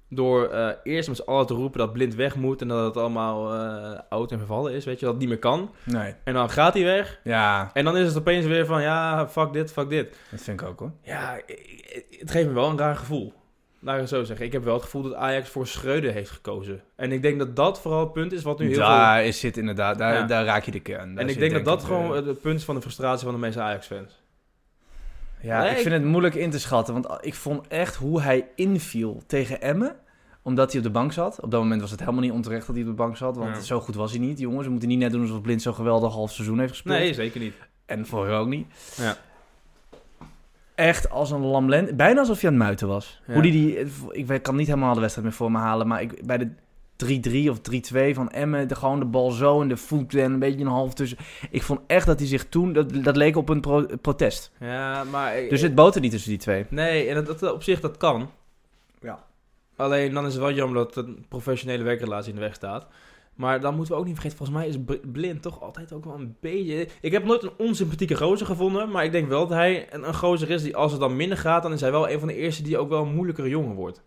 [SPEAKER 3] Door eh, eerst met z'n allen te roepen dat blind weg moet en dat het allemaal eh, oud en vervallen is, weet je, dat het niet meer kan.
[SPEAKER 2] nee.
[SPEAKER 3] En dan gaat hij weg.
[SPEAKER 2] Ja,
[SPEAKER 3] En dan is het opeens weer van, ja, fuck dit, fuck dit.
[SPEAKER 2] dat vind ik ook hoor.
[SPEAKER 3] Ja, i- i- het geeft me wel een raar gevoel. Laat ik het zo zeggen. Ik heb wel het gevoel dat Ajax voor Schreuder heeft gekozen. En ik denk dat dat vooral het punt is wat nu heel
[SPEAKER 2] daar is zit inderdaad, daar,
[SPEAKER 3] Ja.
[SPEAKER 2] daar raak je de kern.
[SPEAKER 3] veel...
[SPEAKER 2] Daar
[SPEAKER 3] En ik
[SPEAKER 2] zit
[SPEAKER 3] denk dat dat
[SPEAKER 2] ik,
[SPEAKER 3] gewoon
[SPEAKER 2] eh,
[SPEAKER 3] het punt is van de frustratie van de meeste Ajax-fans.
[SPEAKER 2] Ja,
[SPEAKER 3] Nee,
[SPEAKER 2] ik
[SPEAKER 3] ik-
[SPEAKER 2] vind het moeilijk in te schatten. Want ik vond echt hoe hij inviel tegen Emmen. Omdat hij op de bank zat. Op dat moment was het helemaal niet onterecht dat hij op de bank zat. Want
[SPEAKER 3] Ja.
[SPEAKER 2] zo goed was hij niet, jongens. We moeten niet net doen alsof Blind zo'n geweldig half seizoen heeft gespeeld.
[SPEAKER 3] Nee, zeker niet.
[SPEAKER 2] En voor ook niet.
[SPEAKER 3] Ja.
[SPEAKER 2] Echt als een lamlen. Bijna alsof hij aan het muiten was.
[SPEAKER 3] Ja.
[SPEAKER 2] Hoe die, die, ik weet- kan niet helemaal de wedstrijd meer voor me halen. Maar ik, bij de 3-3 of 3-2 van Emmen. De, gewoon de bal zo in de voet en een beetje een half tussen. Ik vond echt dat hij zich toen... Dat, dat leek op een pro- protest.
[SPEAKER 3] Ja, maar... ik-
[SPEAKER 2] Dus het boter niet tussen die twee.
[SPEAKER 3] Nee, en dat, dat op zich dat kan.
[SPEAKER 2] Ja.
[SPEAKER 3] Alleen dan is het wel jammer dat een professionele werkrelatie in de weg staat. Maar dan moeten we ook niet vergeten, volgens mij is Br- Blind toch altijd ook wel een beetje... Ik heb nooit een onsympathieke gozer gevonden, maar ik denk wel dat hij een, een gozer is die als het dan minder gaat, dan is hij wel een van de eerste die ook wel een moeilijkere jongen wordt.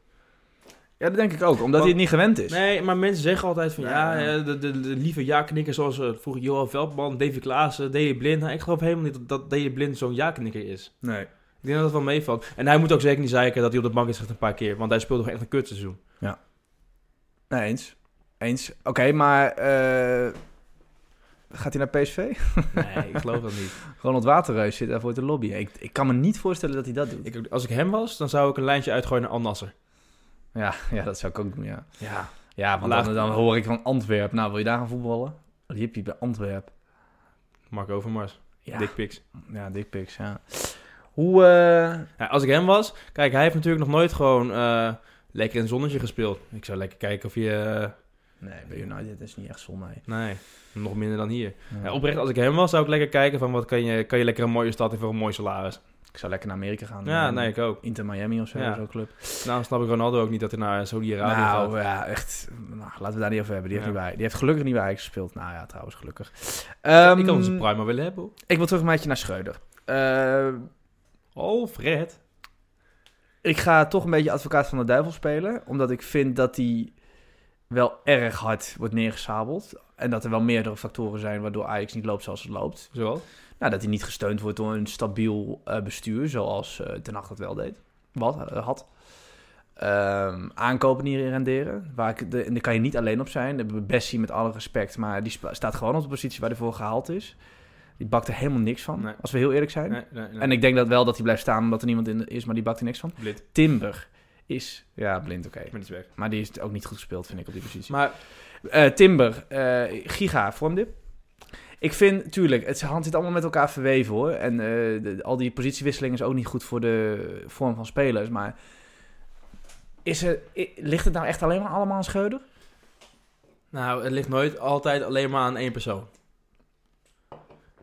[SPEAKER 2] Ja, dat denk ik ook. Omdat hij
[SPEAKER 3] Want-
[SPEAKER 2] het niet gewend is.
[SPEAKER 3] Nee, maar mensen zeggen altijd van ja,
[SPEAKER 2] Ja.
[SPEAKER 3] eh, de, de, de lieve ja-knikker zoals eh, vroeger Johan Veldman, Davy Klaassen, Deli Blind. Nou, ik geloof helemaal niet dat, dat Deli Blind zo'n ja-knikker is.
[SPEAKER 2] Nee.
[SPEAKER 3] Ik denk dat dat wel meevalt. En hij moet ook zeker niet zeiken dat hij op de bank is gezet een paar keer. Want hij speelde gewoon echt een kutseizoen.
[SPEAKER 2] Nee, eens. Eens. Oké, maar... eh, gaat hij naar PSV?
[SPEAKER 3] Nee, ik geloof dat niet.
[SPEAKER 2] Ronald Waterreus zit daarvoor te lobbyen. Ik, ik kan me niet voorstellen dat hij dat doet.
[SPEAKER 3] Ik, als ik hem was, dan zou ik een lijntje uitgooien naar Al Nasser.
[SPEAKER 2] Ja, ja, dat zou ik ook doen, ja.
[SPEAKER 3] Ja.
[SPEAKER 2] Ja, want
[SPEAKER 3] Laag-
[SPEAKER 2] dan, dan hoor ik van Antwerp. Nou, wil je daar gaan voetballen? Jippie bij Antwerp.
[SPEAKER 3] Marco van Mars.
[SPEAKER 2] Ja,
[SPEAKER 3] Dick Pics.
[SPEAKER 2] ja dikpiks, ja. Hoe... eh,
[SPEAKER 3] Ja, als ik hem was... Kijk, hij heeft natuurlijk nog nooit gewoon eh, lekker in het zonnetje gespeeld. Ik zou lekker kijken of je... eh,
[SPEAKER 2] Nee, bij United is niet echt zon, nee.
[SPEAKER 3] nee, nog minder dan hier. Ja,
[SPEAKER 2] Ja,
[SPEAKER 3] oprecht, als ik hem was, zou ik lekker kijken van... Wat kan je, kan je lekker een mooie stad in voor een mooi salaris?
[SPEAKER 2] Ik zou lekker naar Amerika gaan.
[SPEAKER 3] Ja,
[SPEAKER 2] Eh,
[SPEAKER 3] nee, ik ook.
[SPEAKER 2] Inter Miami of zo,
[SPEAKER 3] Ja.
[SPEAKER 2] zo'n club.
[SPEAKER 3] Nou, snap ik Ronaldo ook niet dat hij naar Saudi-Arabië gaat.
[SPEAKER 2] Nou, ja, echt. Nou, laten we daar niet over hebben. Die heeft,
[SPEAKER 3] Ja.
[SPEAKER 2] niet bij, die heeft gelukkig niet bij Ajax gespeeld. Nou ja, trouwens, gelukkig.
[SPEAKER 3] ik
[SPEAKER 2] Ehm,
[SPEAKER 3] kan zijn prima willen hebben. hoor.
[SPEAKER 2] ik wil terug een maatje naar Schreuder. Eh,
[SPEAKER 3] Oh, Fred.
[SPEAKER 2] ik ga toch een beetje advocaat van de duivel spelen. Omdat ik vind dat hij wel erg hard wordt neergesabeld. En dat er wel meerdere factoren zijn waardoor Ajax niet loopt zoals het loopt.
[SPEAKER 3] Zoals?
[SPEAKER 2] Nou, dat hij niet gesteund wordt door een stabiel eh, bestuur, zoals eh Ten Hag dat wel deed. Wat, eh, had. Ehm, aankopen die renderen. Waar ik de, en daar kan je niet alleen op zijn. De Bessie, met alle respect, maar die spa- staat gewoon op de positie waar hij voor gehaald is. Die bakt er helemaal niks van,
[SPEAKER 3] Nee.
[SPEAKER 2] als we heel eerlijk zijn.
[SPEAKER 3] Nee, nee, nee.
[SPEAKER 2] En ik denk dat wel dat hij blijft staan omdat er niemand in is, maar die bakt er niks van.
[SPEAKER 3] Blind. Ik
[SPEAKER 2] Timber is, ja, blind oké.
[SPEAKER 3] ben niet weg.
[SPEAKER 2] Maar die is ook niet goed gespeeld, vind ik, op die positie.
[SPEAKER 3] Maar
[SPEAKER 2] Eh, Timber, eh, Giga, vormdip. Ik vind, tuurlijk, het hand zit allemaal met elkaar verweven hoor. En eh, de- al die positiewisseling is ook niet goed voor de vorm van spelers. Maar is er, i- ligt het nou echt alleen maar allemaal aan Scheuder?
[SPEAKER 3] Nou, het ligt nooit altijd alleen maar aan één persoon.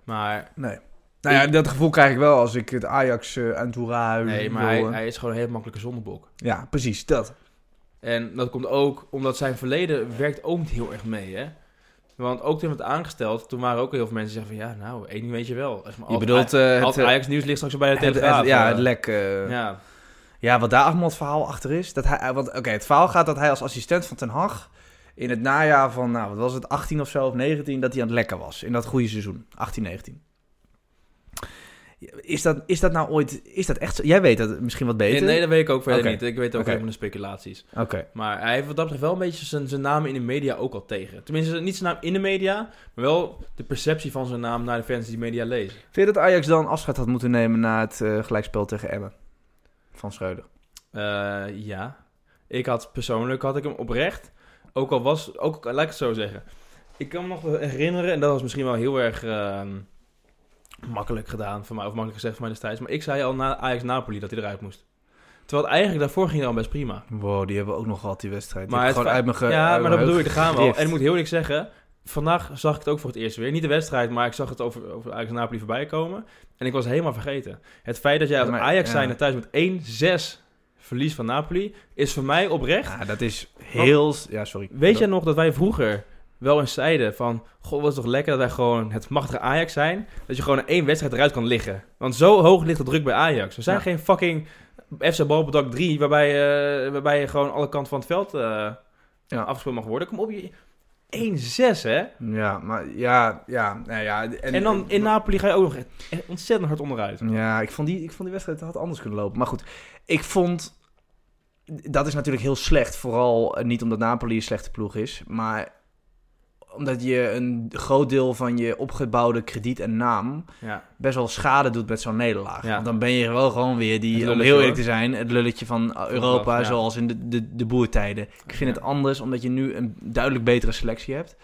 [SPEAKER 3] Maar,
[SPEAKER 2] Nee.
[SPEAKER 3] Nou ja,
[SPEAKER 2] dat gevoel krijg ik wel als ik het Ajax eh, aan Toura
[SPEAKER 3] nee, maar hij, hij is gewoon een heel makkelijke zondebok.
[SPEAKER 2] Ja, precies, dat.
[SPEAKER 3] En dat komt ook omdat zijn verleden werkt ook niet heel erg mee, hè. Want ook toen werd aangesteld, toen waren ook heel veel mensen die zeiden van... Ja, nou, één ding weet je wel. Als,
[SPEAKER 2] Je bedoelt eh,
[SPEAKER 3] Als
[SPEAKER 2] het, eh,
[SPEAKER 3] Ajax nieuws ligt straks bij de
[SPEAKER 2] het-
[SPEAKER 3] Telegraaf.
[SPEAKER 2] het- ja,
[SPEAKER 3] eh.
[SPEAKER 2] het lek. eh,
[SPEAKER 3] Ja,
[SPEAKER 2] Ja, wat daar allemaal het verhaal achter is. Dat hij, want oké, het verhaal gaat dat hij als assistent van Ten Hag in het najaar van, nou, wat was het, 18 of zo, of 19, dat hij aan het lekken was. In dat goede seizoen, 18, 19. Is dat, is dat nou ooit, is dat echt zo? Jij weet dat misschien wat
[SPEAKER 3] nee,
[SPEAKER 2] beter.
[SPEAKER 3] nee, dat weet ik ook verder
[SPEAKER 2] Oké.
[SPEAKER 3] niet. Ik weet ook
[SPEAKER 2] Oké.
[SPEAKER 3] helemaal de speculaties.
[SPEAKER 2] Oké.
[SPEAKER 3] Maar hij heeft wat dat betreft wel een beetje zijn, zijn naam in de media ook al tegen. Tenminste, niet zijn naam in de media, maar wel de perceptie van zijn naam naar de fans die media lezen.
[SPEAKER 2] Vind je dat Ajax dan afscheid had moeten nemen na het eh, gelijkspel tegen Emmen? Van Schreuder.
[SPEAKER 3] Eh, ja. Ik had persoonlijk had ik hem oprecht. Ook al was, ook, laat ik het zo zeggen. Ik kan me nog herinneren, en dat was misschien wel heel erg ehm, makkelijk gedaan voor mij, of makkelijk gezegd voor mij destijds. Maar ik zei al na Ajax Napoli dat hij eruit moest. Terwijl eigenlijk daarvoor ging hij al best prima.
[SPEAKER 2] Wow, die hebben we ook nog gehad, die wedstrijd.
[SPEAKER 3] Maar
[SPEAKER 2] Maar
[SPEAKER 3] het
[SPEAKER 2] gewoon
[SPEAKER 3] fe-
[SPEAKER 2] uit mijn ge-
[SPEAKER 3] ja, maar
[SPEAKER 2] uit mijn
[SPEAKER 3] dat bedoel ik, daar gaan we al.
[SPEAKER 2] gegrift.
[SPEAKER 3] En ik moet heel eerlijk zeggen, vandaag zag ik het ook voor het eerst weer. Niet de wedstrijd, maar ik zag het over, over Ajax Napoli voorbij komen. En ik was helemaal vergeten. Het feit dat jij als
[SPEAKER 2] Maar-
[SPEAKER 3] Ajax
[SPEAKER 2] ja.
[SPEAKER 3] zijn thuis met 1-6 verlies van Napoli, is voor mij oprecht.
[SPEAKER 2] Ja, dat is heel... Ja, sorry.
[SPEAKER 3] Weet jij nog dat wij vroeger wel eens zeiden van... Goh, was het toch lekker dat wij gewoon het machtige Ajax zijn. Dat je gewoon in één wedstrijd eruit kan liggen. Want zo hoog ligt de druk bij Ajax. We zijn
[SPEAKER 2] Ja.
[SPEAKER 3] geen fucking FC Balbedak 3... Waarbij, eh, waarbij je gewoon alle kanten van het veld eh afgespeeld mag worden. Kom op, je... 1-6 hè?
[SPEAKER 2] Ja, maar ja, ja, nou ja.
[SPEAKER 3] En dan in Napoli ga je ook nog echt ontzettend hard onderuit.
[SPEAKER 2] Ja, ik vond die, ik vond die wedstrijd had anders kunnen lopen. Maar goed, ik vond. Dat is natuurlijk heel slecht. Vooral eh, niet omdat Napoli een slechte ploeg is. Maar omdat je een groot deel van je opgebouwde krediet en naam.
[SPEAKER 3] Ja.
[SPEAKER 2] best wel schade doet met zo'n nederlaag.
[SPEAKER 3] Ja.
[SPEAKER 2] Want dan ben je wel gewoon weer
[SPEAKER 3] Het
[SPEAKER 2] die. Om
[SPEAKER 3] lulletje,
[SPEAKER 2] heel eerlijk te
[SPEAKER 3] hoor.
[SPEAKER 2] zijn, het lulletje van eh, Europa.
[SPEAKER 3] ja.
[SPEAKER 2] zoals in de, de, de boertijden. Ik vind
[SPEAKER 3] Ja.
[SPEAKER 2] het anders omdat je nu een duidelijk betere selectie hebt.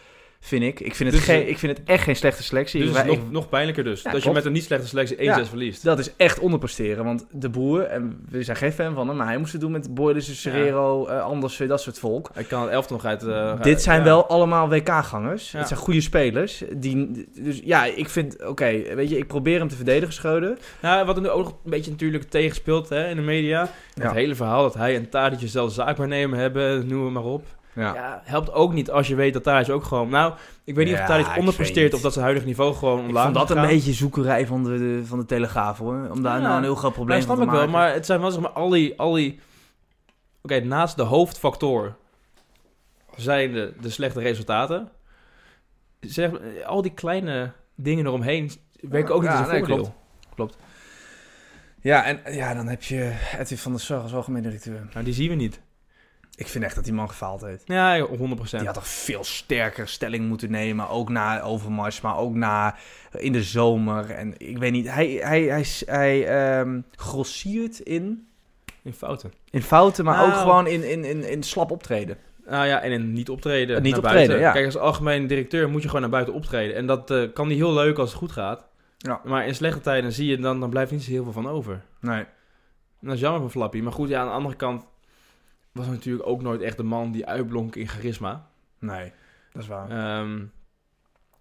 [SPEAKER 2] vind ik. Ik vind het,
[SPEAKER 3] Dus
[SPEAKER 2] geen-
[SPEAKER 3] het-
[SPEAKER 2] ik vind het echt geen slechte selectie.
[SPEAKER 3] Dus
[SPEAKER 2] Ik-
[SPEAKER 3] het is
[SPEAKER 2] ik-
[SPEAKER 3] nog, nog pijnlijker dus.
[SPEAKER 2] Ja,
[SPEAKER 3] dat je
[SPEAKER 2] klopt.
[SPEAKER 3] met een niet slechte selectie 1-6
[SPEAKER 2] Ja.
[SPEAKER 3] verliest.
[SPEAKER 2] dat is echt onderpresteren. Want de boer, en we zijn geen fan van hem, maar hij moest het doen met Boylissen, Serrero, eh, Andersen, dat soort volk.
[SPEAKER 3] Ik kan het elftal nog uit... eh,
[SPEAKER 2] Dit zijn
[SPEAKER 3] ja.
[SPEAKER 2] wel allemaal WK-gangers.
[SPEAKER 3] Ja.
[SPEAKER 2] Het zijn goede spelers. Die, dus ja, ik vind, oké, weet je, ik probeer hem te verdedigen, Schreuder.
[SPEAKER 3] Nou, wat er nu ook nog een beetje natuurlijk tegenspeelt hè, in de media.
[SPEAKER 2] Ja.
[SPEAKER 3] Het hele verhaal dat hij en Tadic zelf zaakwaarnemer hebben, noem het maar op. Ja. helpt ook niet als je weet dat Tadic ook gewoon... Nou, ik weet niet
[SPEAKER 2] Ja,
[SPEAKER 3] of Tadic
[SPEAKER 2] ik weet
[SPEAKER 3] onderpresteert
[SPEAKER 2] niet.
[SPEAKER 3] of dat zijn huidige niveau gewoon
[SPEAKER 2] Ik
[SPEAKER 3] omlaag
[SPEAKER 2] vond dat
[SPEAKER 3] is
[SPEAKER 2] een
[SPEAKER 3] gegaan.
[SPEAKER 2] beetje zoekerij van de, de- van de Telegraaf, hoor. Om daar
[SPEAKER 3] Ja.
[SPEAKER 2] nou een heel groot probleem
[SPEAKER 3] Ja,
[SPEAKER 2] van te
[SPEAKER 3] snap ik wel,
[SPEAKER 2] maken.
[SPEAKER 3] maar het zijn wel zeg maar al die... Al die Oké, naast de hoofdfactor zijn de, de slechte resultaten. Zeg, al die kleine dingen eromheen werken ook niet
[SPEAKER 2] Ja,
[SPEAKER 3] als een
[SPEAKER 2] nee,
[SPEAKER 3] voordeel.
[SPEAKER 2] klopt. Ja, en ja, dan heb je Edwin van der Sar als algemeen directeur.
[SPEAKER 3] Nou, die zien we niet.
[SPEAKER 2] Ik vind echt dat die man gefaald heeft.
[SPEAKER 3] Ja, ja, 100%.
[SPEAKER 2] Die had toch veel sterker stelling moeten nemen. Ook na Overmars, maar ook na eh, in de zomer. En ik weet niet, hij, hij, hij, hij ehm, grossiert in,
[SPEAKER 3] In fouten.
[SPEAKER 2] in fouten, maar ook
[SPEAKER 3] Nou.
[SPEAKER 2] gewoon in, in, in, in slap optreden.
[SPEAKER 3] Nou ja, en in niet optreden.
[SPEAKER 2] Niet
[SPEAKER 3] naar
[SPEAKER 2] optreden,
[SPEAKER 3] buiten.
[SPEAKER 2] ja.
[SPEAKER 3] Kijk, als algemeen directeur moet je gewoon naar buiten optreden. En dat eh, kan die heel leuk als het goed gaat.
[SPEAKER 2] Ja.
[SPEAKER 3] Maar in slechte tijden zie je, dan, dan blijft niet zo heel veel van over.
[SPEAKER 2] Nee.
[SPEAKER 3] En dat is jammer van Flappy. Maar goed, ja, aan de andere kant was hij natuurlijk ook nooit echt de man die uitblonk in charisma.
[SPEAKER 2] Nee, dat is waar.
[SPEAKER 3] Ehm,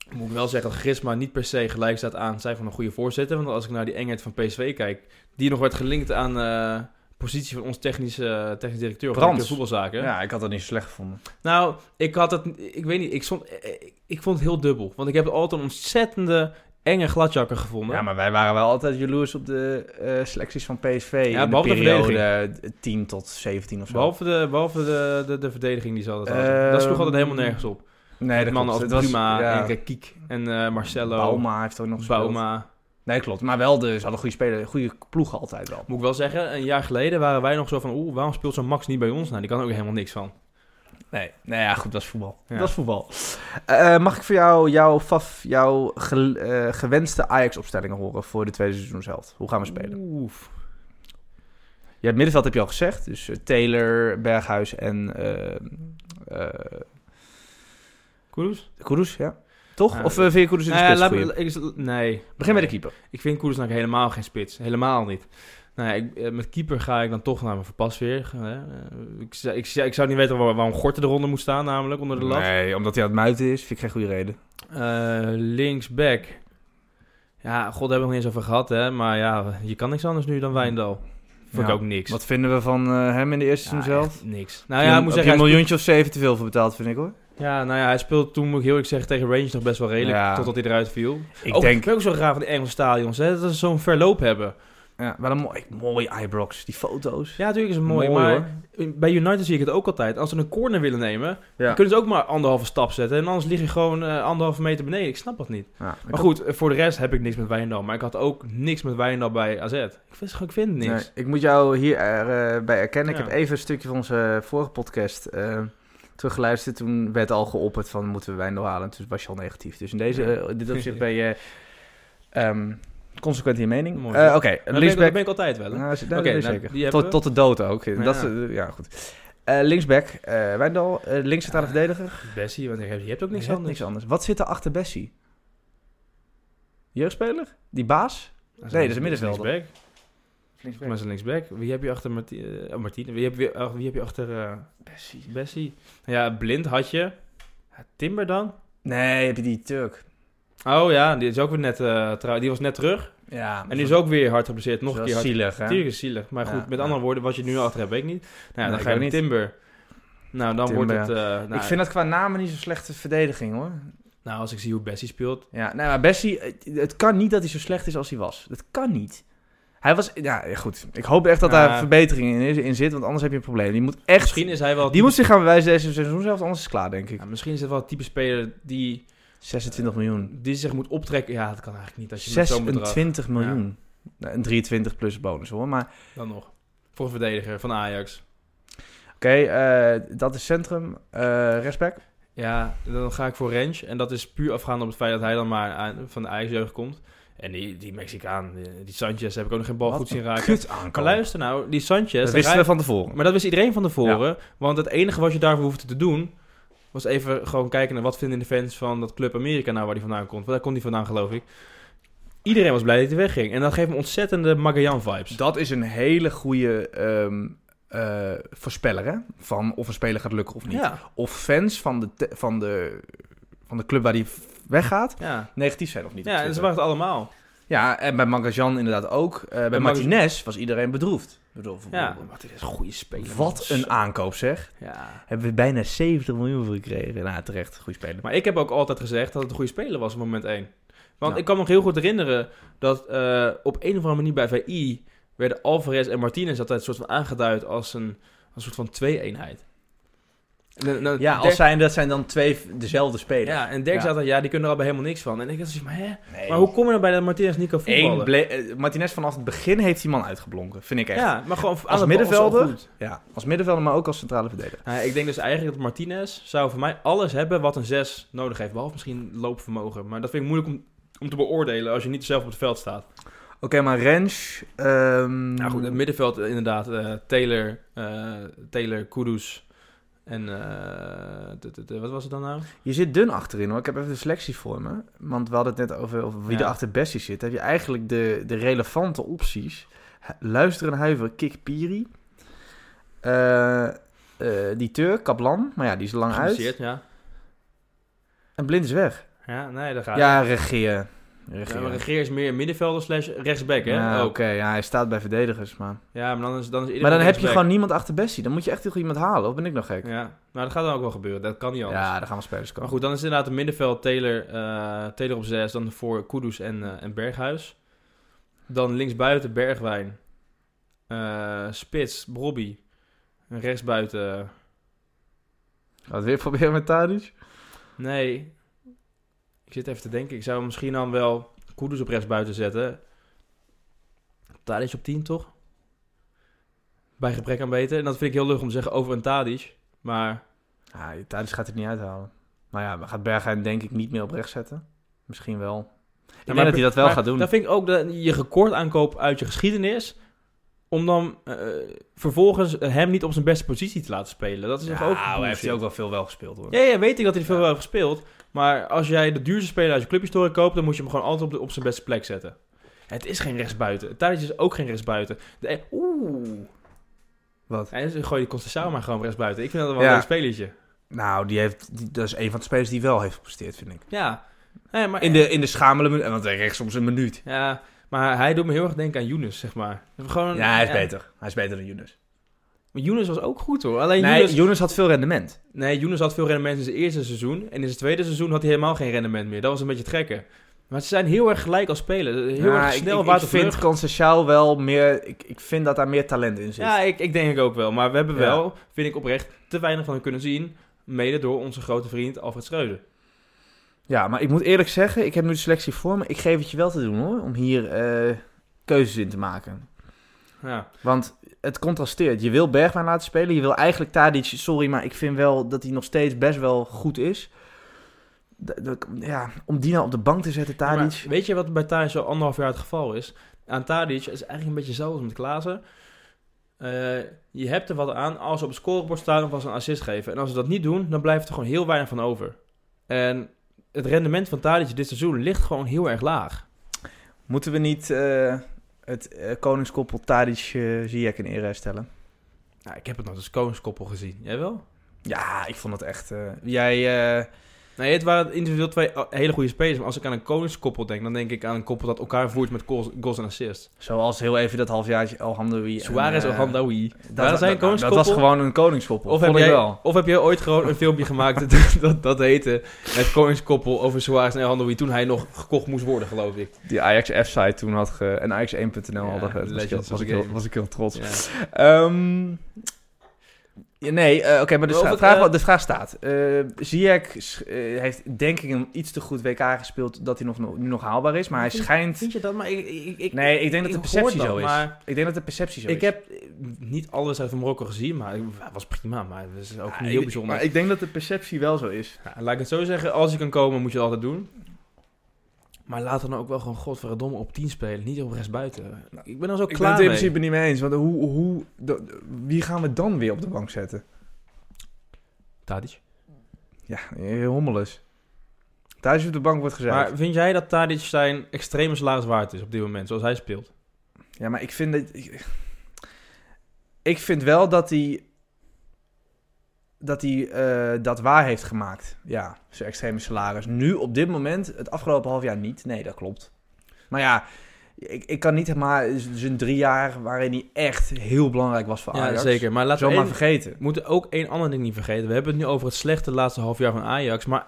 [SPEAKER 3] ik moet wel zeggen dat charisma niet per se gelijk staat aan het zijn van een goede voorzitter. Want als ik naar die Engert van PSV kijk, die nog werd gelinkt aan eh, de positie van ons technische, eh, technisch directeur. of
[SPEAKER 2] Brands.
[SPEAKER 3] directeur voetbalzaken.
[SPEAKER 2] Ja, ik had dat niet zo slecht gevonden.
[SPEAKER 3] Nou, ik had het, ik weet niet, ik, stond, ik, ik vond het heel dubbel. Want ik heb altijd een ontzettende enge gladjakker gevonden.
[SPEAKER 2] Ja, maar wij waren wel altijd jaloers op de eh, selecties van PSV.
[SPEAKER 3] Ja,
[SPEAKER 2] in de
[SPEAKER 3] behalve de
[SPEAKER 2] periode 10 tot 17 of zo.
[SPEAKER 3] Behalve, de, behalve de, de, de verdediging die ze altijd hadden.
[SPEAKER 2] Ehm,
[SPEAKER 3] dat sloeg altijd helemaal nergens op.
[SPEAKER 2] nee,
[SPEAKER 3] Met
[SPEAKER 2] dat
[SPEAKER 3] mannen
[SPEAKER 2] klopt.
[SPEAKER 3] als
[SPEAKER 2] Het was-
[SPEAKER 3] Bruma
[SPEAKER 2] ja,
[SPEAKER 3] en Rekiek en eh, Marcelo.
[SPEAKER 2] Bouma heeft ook nog gespeeld.
[SPEAKER 3] Bouma.
[SPEAKER 2] Nee, klopt. Maar wel dus. Hadden goede spelers, goede ploegen altijd wel.
[SPEAKER 3] Moet ik wel zeggen, een jaar geleden waren wij nog zo van... Oeh, waarom speelt zo'n Max niet bij ons? Nou, die kan er ook helemaal niks van.
[SPEAKER 2] Nee, nou ja, goed, dat is voetbal.
[SPEAKER 3] Ja.
[SPEAKER 2] Dat is voetbal. Eh, mag ik voor jou jouw, faf, jouw gel- eh, gewenste Ajax-opstellingen horen voor de tweede seizoenshelft? Hoe gaan we spelen?
[SPEAKER 3] Oeh.
[SPEAKER 2] Ja, het middenveld heb je al gezegd. Dus eh, Taylor, Berghuis en eh eh,
[SPEAKER 3] Koeders?
[SPEAKER 2] Kudus, ja. Toch?
[SPEAKER 3] Ja.
[SPEAKER 2] of eh, vind je Kudus in de
[SPEAKER 3] Eh,
[SPEAKER 2] spits
[SPEAKER 3] laat
[SPEAKER 2] goeie?
[SPEAKER 3] me- ik- nee.
[SPEAKER 2] Begin bij de keeper.
[SPEAKER 3] Ik vind Koeders nou helemaal geen spits. Helemaal niet. Nou ja, ik, eh, met keeper ga ik dan toch naar mijn verpas weer. hè. Eh, Ik, zou- ik, zou- ik zou niet weten waar- waarom Gorten eronder moet staan, namelijk onder de lat.
[SPEAKER 2] Nee, omdat hij aan het muiten is, vind ik geen goede reden.
[SPEAKER 3] Eh, Linksback. Ja, god, daar hebben we nog niet eens over gehad, hè. Maar ja, je kan niks anders nu dan Wijndal. Vond
[SPEAKER 2] Ja.
[SPEAKER 3] ik ook niks.
[SPEAKER 2] Wat vinden we van eh, hem in de eerste
[SPEAKER 3] Ja,
[SPEAKER 2] seizoenshelft?
[SPEAKER 3] echt Niks. Nou ja, ik moet
[SPEAKER 2] Heb
[SPEAKER 3] zeggen,
[SPEAKER 2] je een
[SPEAKER 3] hij speelt,
[SPEAKER 2] miljoentje of zeven te veel voor betaald, vind ik hoor.
[SPEAKER 3] ja, nou ja, hij speelde toen, moet ik heel eerlijk zeggen, tegen Range nog best wel redelijk.
[SPEAKER 2] Ja.
[SPEAKER 3] Totdat hij eruit viel.
[SPEAKER 2] Ik
[SPEAKER 3] Oh,
[SPEAKER 2] denk,
[SPEAKER 3] vind ook zo raar van de Engelse stadions, hè. Dat ze zo'n verloop hebben.
[SPEAKER 2] ja, wel een mooi, mooi Ibrox, die foto's.
[SPEAKER 3] Ja, natuurlijk is het mooi, maar... Bij United zie ik het ook altijd. Als ze een corner willen nemen, dan kunnen ze ook maar anderhalve stap zetten. En anders lig je gewoon eh, anderhalve meter beneden. Ik snap dat niet. Maar goed, eh, voor de rest heb ik niks met Wijndal. Maar ik had ook niks met Wijndal bij AZ. Ik vind, ik vind niks. Nou,
[SPEAKER 2] Nee, ik moet jou hier eh, bij erkennen.
[SPEAKER 3] Ja.
[SPEAKER 2] Ik heb even een stukje van onze vorige podcast eh, teruggeluisterd. Toen werd al geopperd van moeten we Wijndal halen. En toen was je al negatief. Dus in deze,
[SPEAKER 3] Ja.
[SPEAKER 2] eh, in dit opzicht ben je ehm, consequent in je mening.
[SPEAKER 3] Mooi.
[SPEAKER 2] Eh, Oké,
[SPEAKER 3] Maar dat, ben ik, dat
[SPEAKER 2] linksback.
[SPEAKER 3] ben ik altijd wel. hè.
[SPEAKER 2] Nou, ze-
[SPEAKER 3] Oké,
[SPEAKER 2] dat is
[SPEAKER 3] nou,
[SPEAKER 2] zeker.
[SPEAKER 3] die hebben
[SPEAKER 2] tot,
[SPEAKER 3] we.
[SPEAKER 2] tot de dood ook.
[SPEAKER 3] Ja.
[SPEAKER 2] Dat, eh, ja, goed. Eh, linksback, eh Wijndal, eh links centrale verdediger.
[SPEAKER 3] Bessie, want je hebt, je hebt ook niks
[SPEAKER 2] Je hebt
[SPEAKER 3] anders.
[SPEAKER 2] niks anders. Wat zit er achter Bessie? Jeugdspeler? Die baas?
[SPEAKER 3] Dat
[SPEAKER 2] Nee, dat is een
[SPEAKER 3] links-
[SPEAKER 2] middenvelder.
[SPEAKER 3] Linksback. Maar dat is een linksback. Wie heb je achter Marti eh, oh, Martine? Wie heb, wie, ach, wie heb je achter eh,
[SPEAKER 2] Bessie.
[SPEAKER 3] Bessie? Nou Ja, blind had je. Ja, Timber dan?
[SPEAKER 2] Nee, heb je die Turk.
[SPEAKER 3] Oh ja, die is ook weer net, eh, trouw- die was net terug.
[SPEAKER 2] Ja,
[SPEAKER 3] En die is ook weer hard geblesseerd. Nog een keer hard
[SPEAKER 2] zielig, hè?
[SPEAKER 3] Natuurlijk is het zielig. Maar goed,
[SPEAKER 2] Ja,
[SPEAKER 3] met
[SPEAKER 2] ja.
[SPEAKER 3] andere woorden, wat je nu achter hebt, weet ik niet. Nou, ja,
[SPEAKER 2] Nee,
[SPEAKER 3] dan
[SPEAKER 2] ik
[SPEAKER 3] ga je
[SPEAKER 2] ook
[SPEAKER 3] met
[SPEAKER 2] niet.
[SPEAKER 3] Timber. Nou, dan
[SPEAKER 2] Timber,
[SPEAKER 3] wordt het... eh, nou,
[SPEAKER 2] ik vind dat qua namen niet zo'n slechte verdediging, hoor.
[SPEAKER 3] nou, als ik zie hoe Bessie speelt...
[SPEAKER 2] Ja, nou, maar Bessie, het, het kan niet dat hij zo slecht is als hij was. Dat kan niet. Hij was, ja, goed. Ik hoop echt dat daar
[SPEAKER 3] Ja.
[SPEAKER 2] verbetering in, is- in zit, want anders heb je een probleem. Die moet echt,
[SPEAKER 3] Nou. Misschien is hij wel...
[SPEAKER 2] die moet zich gaan bewijzen deze seizoen zelf, anders is het klaar, denk ik.
[SPEAKER 3] Ja, misschien is het wel het type speler die,
[SPEAKER 2] 26 miljoen.
[SPEAKER 3] die zich moet optrekken. Ja, dat kan eigenlijk niet. Als je met zo'n bedrag...
[SPEAKER 2] 26 miljoen. Nou, een 23 plus bonus, hoor. Maar
[SPEAKER 3] Dan nog. Voor een verdediger van Ajax.
[SPEAKER 2] oké, eh, dat is centrum. eh rechtsback.
[SPEAKER 3] Ja, dan ga ik voor Range. En dat is puur afgaand op het feit dat hij dan maar aan- van de Ajax-jeugd komt. En die, die Mexicaan, die die Sanchez, heb ik ook nog geen bal
[SPEAKER 2] Wat
[SPEAKER 3] goed
[SPEAKER 2] een
[SPEAKER 3] zien raken.
[SPEAKER 2] Kut
[SPEAKER 3] Maar
[SPEAKER 2] aankomen.
[SPEAKER 3] luister nou, die Sanchez...
[SPEAKER 2] Dat
[SPEAKER 3] daar
[SPEAKER 2] wisten
[SPEAKER 3] ga-
[SPEAKER 2] we van tevoren.
[SPEAKER 3] Maar dat wist iedereen van tevoren. Want het enige wat je daarvoor hoeft te doen... was even gewoon kijken naar wat vinden de fans van dat Club Amerika nou waar die vandaan komt. Want daar komt die vandaan, geloof ik. Iedereen was blij dat hij wegging. En dat geeft me ontzettende Magallan-vibes.
[SPEAKER 2] Dat is een hele goede ehm, eh, voorspeller hè? van of een speler gaat lukken of niet.
[SPEAKER 3] Ja.
[SPEAKER 2] Of fans van de, te- van, de, van de club waar die weggaat,
[SPEAKER 3] Ja.
[SPEAKER 2] negatief zijn of niet.
[SPEAKER 3] Ja,
[SPEAKER 2] op
[SPEAKER 3] en ze
[SPEAKER 2] Twitter.
[SPEAKER 3] waren het allemaal.
[SPEAKER 2] ja, en bij Mangajan inderdaad ook. Eh, bij
[SPEAKER 3] Bij Mag-
[SPEAKER 2] Martinez was iedereen bedroefd. Ik bedoel,
[SPEAKER 3] Ja.
[SPEAKER 2] wat een- Dus-
[SPEAKER 3] is een goede speler.
[SPEAKER 2] Wat een aankoop zeg.
[SPEAKER 3] Ja.
[SPEAKER 2] Hebben we bijna 70 miljoen voor gekregen. Nou, terecht, goede speler.
[SPEAKER 3] Maar ik heb ook altijd gezegd dat het een goede speler was op moment 1. Want
[SPEAKER 2] Ja.
[SPEAKER 3] ik kan me nog heel goed herinneren dat eh, op een of andere manier bij VI werden Alvarez en Martinez altijd soort van aangeduid als een, als een soort van twee-eenheid. En dan- dan-
[SPEAKER 2] ja,
[SPEAKER 3] der-
[SPEAKER 2] als zijn, dat zijn dan twee v- dezelfde spelers.
[SPEAKER 3] ja, en Dirk
[SPEAKER 2] Nou, Ja.
[SPEAKER 3] zei altijd, ja, die kunnen er al bij helemaal niks van. En ik dacht, zoiets van, hè?
[SPEAKER 2] Nee.
[SPEAKER 3] Maar hoe kom je nou bij dat Martinez niet kan
[SPEAKER 2] Eén
[SPEAKER 3] voetballen?
[SPEAKER 2] ble- eh, Martinez vanaf het begin heeft die man uitgeblonken, vind ik echt.
[SPEAKER 3] ja, maar gewoon aan de
[SPEAKER 2] Als
[SPEAKER 3] bal
[SPEAKER 2] middenvelder?
[SPEAKER 3] zo goed.
[SPEAKER 2] Ja, als middenvelder, maar ook als centrale verdediger.
[SPEAKER 3] Nou, ik denk dus eigenlijk dat Martinez zou voor mij alles hebben wat een 6 nodig heeft. Behalve misschien loopvermogen. Maar dat vind ik moeilijk om, om te beoordelen als je niet zelf op het veld staat.
[SPEAKER 2] Oké, maar Rens... ehm,
[SPEAKER 3] Nou goed, het middenveld eh, inderdaad. eh, Taylor, eh Taylor, Kudus en eh, t- t- t- wat was het dan nou?
[SPEAKER 2] je zit dun achterin hoor. Ik heb even de selectie voor me. Want we hadden het net over, over wie
[SPEAKER 3] Ja.
[SPEAKER 2] er achter Bessie zit. Heb je eigenlijk de, de relevante opties. H- Luisteren, Huiver, Kik, Piri. Eh, eh, die Turk, Kaplan. Maar ja, die is lang uit.
[SPEAKER 3] Geblesseerd, ja.
[SPEAKER 2] En Blind is weg.
[SPEAKER 3] Ja, nee, daar
[SPEAKER 2] Ja,
[SPEAKER 3] gaat ja,
[SPEAKER 2] regeer.
[SPEAKER 3] ja,
[SPEAKER 2] Regeer.
[SPEAKER 3] maar Regeer is meer middenvelder slash rechtsback, hè?
[SPEAKER 2] Ja,
[SPEAKER 3] ook.
[SPEAKER 2] Oké, ja, hij staat bij verdedigers, maar...
[SPEAKER 3] Ja, maar dan is, dan is iedereen
[SPEAKER 2] Maar dan heb je
[SPEAKER 3] rechtsback.
[SPEAKER 2] gewoon niemand achter Bessie. Dan moet je echt heel goed iemand halen, of ben ik nog gek?
[SPEAKER 3] Ja, nou dat gaat dan ook wel gebeuren. Dat kan niet anders.
[SPEAKER 2] Ja, daar gaan we spelers
[SPEAKER 3] Maar
[SPEAKER 2] komen.
[SPEAKER 3] goed, dan is inderdaad het middenveld Taylor, eh, Taylor op 6, dan voor Kudus en, eh, en Berghuis. Dan linksbuiten Bergwijn, Eh, Spits, Brobby, En rechtsbuiten...
[SPEAKER 2] Laten we weer proberen met Tadic.
[SPEAKER 3] Nee, ik zit even te denken, ik zou hem misschien dan wel Kudus op rechtsbuiten zetten. Tadic op 10 toch? Bij gebrek aan beter. En dat vind ik heel leuk om te zeggen over een Tadic, maar...
[SPEAKER 2] Ja, Tadic gaat het niet uithalen. Maar ja, we gaat Berghuis denk ik niet meer op rechts zetten. Misschien wel. Ik
[SPEAKER 3] Ja,
[SPEAKER 2] denk dat
[SPEAKER 3] maar-
[SPEAKER 2] hij dat wel
[SPEAKER 3] maar
[SPEAKER 2] gaat doen.
[SPEAKER 3] Dan vind ik ook dat je record aankoop uit je geschiedenis. Om dan eh, vervolgens hem niet op zijn beste positie te laten spelen. Dat is toch ook.
[SPEAKER 2] hij heeft
[SPEAKER 3] bullshit?
[SPEAKER 2] hij ook wel veel wel gespeeld hoor.
[SPEAKER 3] Ja, ja, weet ik dat hij er veel
[SPEAKER 2] Ja.
[SPEAKER 3] wel heeft gespeeld. Maar als jij de duurste speler uit je clubhistorie koopt, dan moet je hem gewoon altijd op, de- op zijn beste plek zetten. Het is geen rechtsbuiten. Tadic is ook geen rechtsbuiten. De, e- oeh.
[SPEAKER 2] Wat?
[SPEAKER 3] Hij is- gooi die Constanzao maar gewoon rechtsbuiten. Ik vind dat wel
[SPEAKER 2] Ja.
[SPEAKER 3] een leuk spelertje.
[SPEAKER 2] Nou, die heeft, die- dat is een van de spelers die wel heeft gepresteerd, vind ik.
[SPEAKER 3] Ja. Nee, maar,
[SPEAKER 2] In de, in de schamele minuut, want hij kreeg soms een minuut.
[SPEAKER 3] ja. Maar hij doet me heel erg denken aan Younes, zeg maar. Gewoon,
[SPEAKER 2] Ja, hij is beter. Hij is beter dan Younes.
[SPEAKER 3] Maar Younes was ook goed hoor. Alleen
[SPEAKER 2] Nee,
[SPEAKER 3] Younes-
[SPEAKER 2] Younes had veel rendement.
[SPEAKER 3] Nee, Younes had veel rendement in zijn eerste seizoen. En in zijn tweede seizoen had hij helemaal geen rendement meer. Dat was een beetje het gekke. Maar ze zijn heel erg gelijk als spelen. Heel
[SPEAKER 2] Ja,
[SPEAKER 3] erg
[SPEAKER 2] Nou, ik-
[SPEAKER 3] snel
[SPEAKER 2] ik, ik,
[SPEAKER 3] watervlug.
[SPEAKER 2] vind Concecao wel meer... Ik, ik vind dat daar meer talent in zit.
[SPEAKER 3] Ja, ik, ik denk ik ook wel. Maar we hebben
[SPEAKER 2] Ja.
[SPEAKER 3] wel, vind ik oprecht, te weinig van hem kunnen zien. Mede door onze grote vriend Alfred Schreuder.
[SPEAKER 2] Ja, maar ik moet eerlijk zeggen, ik heb nu de selectie voor me. Ik geef het je wel te doen hoor, om hier eh, keuzes in te maken.
[SPEAKER 3] Ja.
[SPEAKER 2] Want het contrasteert. Je wil Bergwijn laten spelen, je wil eigenlijk Tadic... Sorry, maar ik vind wel dat hij nog steeds best wel goed is. D- d- ja, om die nou op de bank te zetten, Tadic...
[SPEAKER 3] Maar weet je wat bij Tadic zo anderhalf jaar het geval is? Aan Tadic is eigenlijk een beetje hetzelfde als met Klaassen. Eh, je hebt er wat aan als ze op het scorebord staan of als ze een assist geven. En als ze dat niet doen, dan blijft er gewoon heel weinig van over. En het rendement van Tadic dit seizoen ligt gewoon heel erg laag.
[SPEAKER 2] Moeten we niet eh, het eh, koningskoppel Tadic eh Ziyech in ere herstellen?
[SPEAKER 3] Nou, ik heb het nog als koningskoppel gezien. Jij wel?
[SPEAKER 2] Ja, ik vond het echt... eh, jij... eh,
[SPEAKER 3] Nee, het waren individueel twee eh, hele goede spelers. Maar als ik aan een koningskoppel denk, dan denk ik aan een koppel dat elkaar voert met goals, goals en assists.
[SPEAKER 2] zoals heel even dat halfjaartje Alhamdoui... en,
[SPEAKER 3] Suarez
[SPEAKER 2] eh,
[SPEAKER 3] of Handawi.
[SPEAKER 2] dat-
[SPEAKER 3] Waren zij een
[SPEAKER 2] dat- dat- Dat was
[SPEAKER 3] koningskoppel?
[SPEAKER 2] gewoon een koningskoppel,
[SPEAKER 3] Of heb,
[SPEAKER 2] vond ik
[SPEAKER 3] jij,
[SPEAKER 2] wel.
[SPEAKER 3] of heb jij ooit gewoon een filmpje gemaakt dat, dat, dat heette het koningskoppel over Suarez en El Handoui toen hij nog gekocht moest worden, geloof ik.
[SPEAKER 2] die Ajax F-site toen had ge, en Ajax 1.nl
[SPEAKER 3] Ja,
[SPEAKER 2] hadden ge, was, ik, heel-
[SPEAKER 3] Legends
[SPEAKER 2] was,
[SPEAKER 3] of
[SPEAKER 2] ik
[SPEAKER 3] the
[SPEAKER 2] heel,
[SPEAKER 3] game.
[SPEAKER 2] was ik heel trots.
[SPEAKER 3] Ja.
[SPEAKER 2] Ehm, ja, nee, eh, oké, maar de,
[SPEAKER 3] Over
[SPEAKER 2] stra-
[SPEAKER 3] het,
[SPEAKER 2] vraag,
[SPEAKER 3] eh,
[SPEAKER 2] wat- de vraag staat. Eh Ziyech sch- eh, heeft denk ik een iets te goed WK gespeeld dat hij nog, nog- nu nog haalbaar is, maar hij schijnt...
[SPEAKER 3] Vind je dat? Maar ik, ik, ik,
[SPEAKER 2] Nee, ik denk dat de
[SPEAKER 3] hoor
[SPEAKER 2] perceptie zo is.
[SPEAKER 3] Maar
[SPEAKER 2] Ik denk dat de perceptie zo
[SPEAKER 3] ik
[SPEAKER 2] is.
[SPEAKER 3] heb eh, niet alles uit van Marokko gezien, maar ik- hij was prima. Maar het is ook
[SPEAKER 2] Ja,
[SPEAKER 3] niet
[SPEAKER 2] ik-
[SPEAKER 3] heel bijzonder.
[SPEAKER 2] Maar ik denk dat de perceptie wel zo is.
[SPEAKER 3] Nou, laat ik het zo zeggen, als je kan komen, moet je het altijd doen. Maar laat dan ook wel gewoon godverdomme op 10 spelen, niet op rechtsbuiten. Ik ben er zo
[SPEAKER 2] Ik ben
[SPEAKER 3] klaar
[SPEAKER 2] het in
[SPEAKER 3] mee.
[SPEAKER 2] principe niet mee eens, want hoe, hoe, wie gaan we dan weer op de bank zetten?
[SPEAKER 3] Tadic.
[SPEAKER 2] Ja, heel hommeles. Thuis op de bank wordt gezet.
[SPEAKER 3] Maar vind jij dat Tadic zijn extreme salaris waard is op dit moment, zoals hij speelt?
[SPEAKER 2] Ja, maar ik vind dat... Ik, ik vind wel dat hij... Dat hij eh, dat waar heeft gemaakt. Ja, zijn extreme salaris. Nu, op dit moment, het afgelopen half jaar niet. Nee, dat klopt. Maar ja, ik, ik kan niet maar zijn drie jaar waarin hij echt heel belangrijk was voor Ajax.
[SPEAKER 3] Ja, zeker. Maar laten we,
[SPEAKER 2] Zomaar
[SPEAKER 3] één-
[SPEAKER 2] vergeten.
[SPEAKER 3] we moeten ook één ander ding niet vergeten. We hebben het nu over het slechte laatste half jaar van Ajax. Maar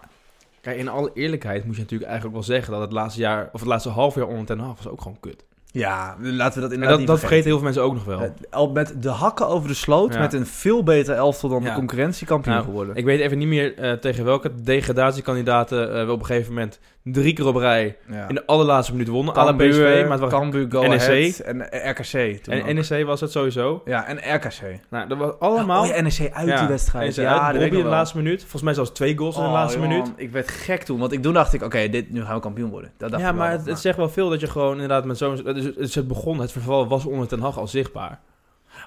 [SPEAKER 3] kijk, in alle eerlijkheid moet je natuurlijk eigenlijk wel zeggen dat het laatste jaar, of het laatste half jaar onder Ten Hag was ook gewoon kut.
[SPEAKER 2] Ja, laten we dat
[SPEAKER 3] En
[SPEAKER 2] inderdaad
[SPEAKER 3] dat,
[SPEAKER 2] niet
[SPEAKER 3] dat
[SPEAKER 2] vergeten.
[SPEAKER 3] vergeten heel veel mensen ook nog wel.
[SPEAKER 2] Eh, Al met de hakken over de sloot,
[SPEAKER 3] Ja.
[SPEAKER 2] met een veel beter elftal dan de
[SPEAKER 3] Ja.
[SPEAKER 2] concurrentiekampioen
[SPEAKER 3] Nou,
[SPEAKER 2] geworden.
[SPEAKER 3] Ik weet even niet meer eh, tegen welke degradatiekandidaten eh, we op een gegeven moment drie keer op rij
[SPEAKER 2] ja.
[SPEAKER 3] in de allerlaatste minuut wonnen. Alle
[SPEAKER 2] Cambuur,
[SPEAKER 3] PSV, maar het was
[SPEAKER 2] Cambuur, Go
[SPEAKER 3] NEC.
[SPEAKER 2] Ahead en eh, RKC toen
[SPEAKER 3] en
[SPEAKER 2] ook.
[SPEAKER 3] NEC was het sowieso.
[SPEAKER 2] Ja, en RKC.
[SPEAKER 3] Nou, dat was allemaal...
[SPEAKER 2] Oh ja, NEC uit
[SPEAKER 3] Ja,
[SPEAKER 2] die wedstrijd.
[SPEAKER 3] NEC
[SPEAKER 2] ja, dat
[SPEAKER 3] uit,
[SPEAKER 2] weet
[SPEAKER 3] Bobby
[SPEAKER 2] ik
[SPEAKER 3] in
[SPEAKER 2] nog
[SPEAKER 3] de
[SPEAKER 2] wel.
[SPEAKER 3] laatste minuut. Volgens mij zelfs twee goals in de
[SPEAKER 2] Oh,
[SPEAKER 3] laatste
[SPEAKER 2] jongen,
[SPEAKER 3] minuut.
[SPEAKER 2] Ik werd gek toen, want ik, toen dacht ik, oké, dit nu gaan we kampioen worden. Dat dacht
[SPEAKER 3] Ja,
[SPEAKER 2] ik wel,
[SPEAKER 3] maar het, het zegt wel veel dat je gewoon inderdaad met zo'n... Het, is- het, is- het begon, het verval was onder Ten Hag al zichtbaar.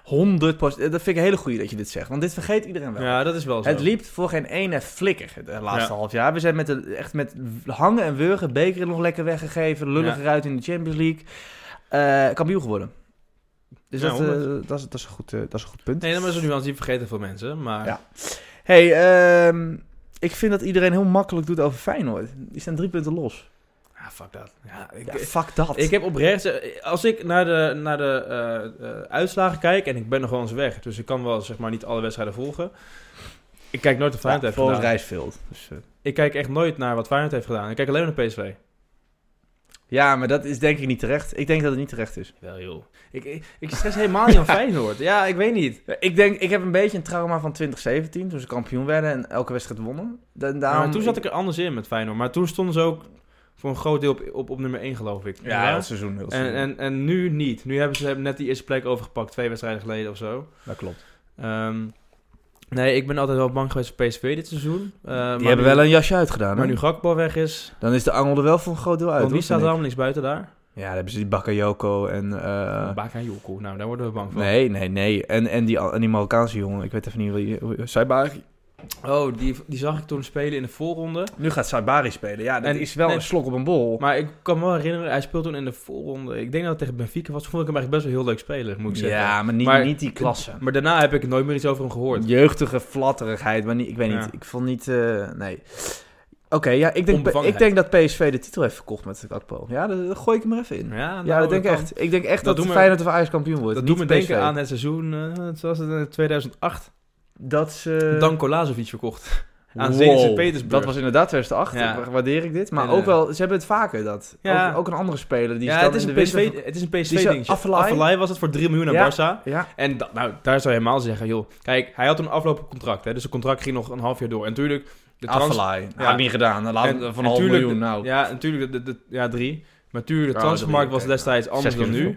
[SPEAKER 2] 100 eh, Dat vind ik een hele goeie dat je dit zegt, want dit vergeet iedereen wel.
[SPEAKER 3] Ja, dat is wel zo.
[SPEAKER 2] Het liep voor geen ene flikker het eh, laatste
[SPEAKER 3] Ja.
[SPEAKER 2] half jaar. We zijn met de, echt met hangen en wurgen, beker nog lekker weggegeven, lullig
[SPEAKER 3] Ja.
[SPEAKER 2] eruit in de Champions League. eh, kampioen geworden. Dus
[SPEAKER 3] Ja,
[SPEAKER 2] dat, eh, dat, is, dat, is een goed, eh, dat is een goed punt.
[SPEAKER 3] Nee, dat is een nuance die vergeten veel mensen, maar...
[SPEAKER 2] Ja. hey, ehm, ik vind dat iedereen heel makkelijk doet over Feyenoord. Die staan drie punten los.
[SPEAKER 3] Ah, fuck dat. Ja, ik,
[SPEAKER 2] Ja, fuck dat.
[SPEAKER 3] Ik heb oprecht, eh, als ik naar de, naar de eh, eh, uitslagen kijk, en ik ben nog wel eens weg, dus ik kan wel zeg maar niet alle wedstrijden volgen. Ik kijk nooit wat Feyenoord
[SPEAKER 2] ja,
[SPEAKER 3] heeft
[SPEAKER 2] volgens
[SPEAKER 3] gedaan.
[SPEAKER 2] Rijsveld. Dus, eh,
[SPEAKER 3] Ik kijk echt nooit naar wat Feyenoord heeft gedaan. Ik kijk alleen naar PSV.
[SPEAKER 2] ja, maar dat is denk ik niet terecht. Ik denk dat het niet terecht is.
[SPEAKER 3] Wel joh. Ik, ik, ik stress helemaal niet aan Feyenoord. Ja, ik weet niet.
[SPEAKER 2] Ik denk, ik heb een beetje een trauma van 2017, toen ze kampioen werden en elke wedstrijd wonnen. Da-
[SPEAKER 3] Ja,
[SPEAKER 2] daarom-
[SPEAKER 3] maar toen zat ik er anders in met Feyenoord. Maar toen stonden ze ook voor een groot deel op, op, op nummer 1 geloof ik.
[SPEAKER 2] Ja, heel seizoen. Heel
[SPEAKER 3] En,
[SPEAKER 2] seizoen.
[SPEAKER 3] en, en nu niet. Nu hebben ze hebben net die eerste plek overgepakt, twee wedstrijden geleden of zo.
[SPEAKER 2] dat klopt.
[SPEAKER 3] Ehm, nee, ik ben altijd wel bang geweest voor PSV dit seizoen. Eh, maar
[SPEAKER 2] Die hebben
[SPEAKER 3] nu-
[SPEAKER 2] wel een Oh, jasje uitgedaan.
[SPEAKER 3] Maar
[SPEAKER 2] hè?
[SPEAKER 3] nu Gakpo weg is,
[SPEAKER 2] Dan is de angel er wel voor een groot deel uit.
[SPEAKER 3] want
[SPEAKER 2] hoor,
[SPEAKER 3] wie staat er
[SPEAKER 2] vind ik.
[SPEAKER 3] allemaal niks buiten daar?
[SPEAKER 2] Ja, dan hebben ze die Bakayoko en... eh,
[SPEAKER 3] Uh, Baka Joko, nou daar worden we bang van.
[SPEAKER 2] nee, nee, nee. En, en, die, en die Marokkaanse jongen. Ik weet even niet wie... hoe- Saibari.
[SPEAKER 3] Oh, die, die zag ik toen spelen in de voorronde.
[SPEAKER 2] Nu gaat Saibari spelen. Ja, dat
[SPEAKER 3] En-
[SPEAKER 2] is wel
[SPEAKER 3] nee.
[SPEAKER 2] een slok op een bol.
[SPEAKER 3] Maar ik kan me wel herinneren, hij speelde toen in de voorronde. Ik denk dat het tegen Benfica was. Vond ik hem eigenlijk best wel heel leuk spelen, moet ik zeggen.
[SPEAKER 2] ja, maar niet,
[SPEAKER 3] Maar-
[SPEAKER 2] niet die klasse.
[SPEAKER 3] Maar daarna heb ik nooit meer iets over hem gehoord.
[SPEAKER 2] Jeugdige flatterigheid. Maar niet, ik weet
[SPEAKER 3] Ja.
[SPEAKER 2] niet. Ik vond niet... eh, nee. Oké, ja, ik denk, ik
[SPEAKER 3] Onbevangenheid.
[SPEAKER 2] denk dat PSV de titel heeft verkocht met Gakpo. Ja, dat, dat gooi ik hem er even in. Ja,
[SPEAKER 3] nou,
[SPEAKER 2] dat denk ik
[SPEAKER 3] kan-
[SPEAKER 2] echt. Ik denk
[SPEAKER 3] Dat
[SPEAKER 2] echt dat,
[SPEAKER 3] doet me-
[SPEAKER 2] Feyenoord of Ajax kampioen wordt.
[SPEAKER 3] Dat
[SPEAKER 2] niet
[SPEAKER 3] doet me
[SPEAKER 2] PSV.
[SPEAKER 3] denken aan het seizoen, eh, zoals het in 2008.
[SPEAKER 2] Dat ze...
[SPEAKER 3] Danko Lazovic verkocht. Aan
[SPEAKER 2] Wow,
[SPEAKER 3] Zenit Sint-Petersburg.
[SPEAKER 2] Dat was inderdaad 2008,
[SPEAKER 3] Ja.
[SPEAKER 2] wa- waardeer ik dit. Maar
[SPEAKER 3] En,
[SPEAKER 2] ook
[SPEAKER 3] eh,
[SPEAKER 2] wel, ze hebben het vaker dat.
[SPEAKER 3] Ja.
[SPEAKER 2] Ook, ook een andere speler die
[SPEAKER 3] ja,
[SPEAKER 2] is dan
[SPEAKER 3] het is,
[SPEAKER 2] in
[SPEAKER 3] een
[SPEAKER 2] de winter
[SPEAKER 3] PSV, het is een
[SPEAKER 2] Die is, eh,
[SPEAKER 3] PSV-ding.
[SPEAKER 2] Afellay.
[SPEAKER 3] was het voor 3 miljoen naar
[SPEAKER 2] Ja.
[SPEAKER 3] Barça.
[SPEAKER 2] van- Ja,
[SPEAKER 3] En da- nou, daar zou je helemaal zeggen, joh. Kijk, hij had een aflopend contract, hè, dus het contract ging nog een half jaar door. En natuurlijk, de trans-
[SPEAKER 2] Afellay. Ja.
[SPEAKER 3] Ja.
[SPEAKER 2] Had ik niet gedaan. Dan laat
[SPEAKER 3] En-
[SPEAKER 2] van
[SPEAKER 3] en
[SPEAKER 2] een half
[SPEAKER 3] tuurlijk
[SPEAKER 2] miljoen nou.
[SPEAKER 3] Ja, natuurlijk, de, de, de- ja, drie. Maar natuurlijk, de
[SPEAKER 2] Ja,
[SPEAKER 3] transfermarkt
[SPEAKER 2] drie,
[SPEAKER 3] was
[SPEAKER 2] oké,
[SPEAKER 3] destijds anders
[SPEAKER 2] Zes
[SPEAKER 3] dan
[SPEAKER 2] keer
[SPEAKER 3] nu.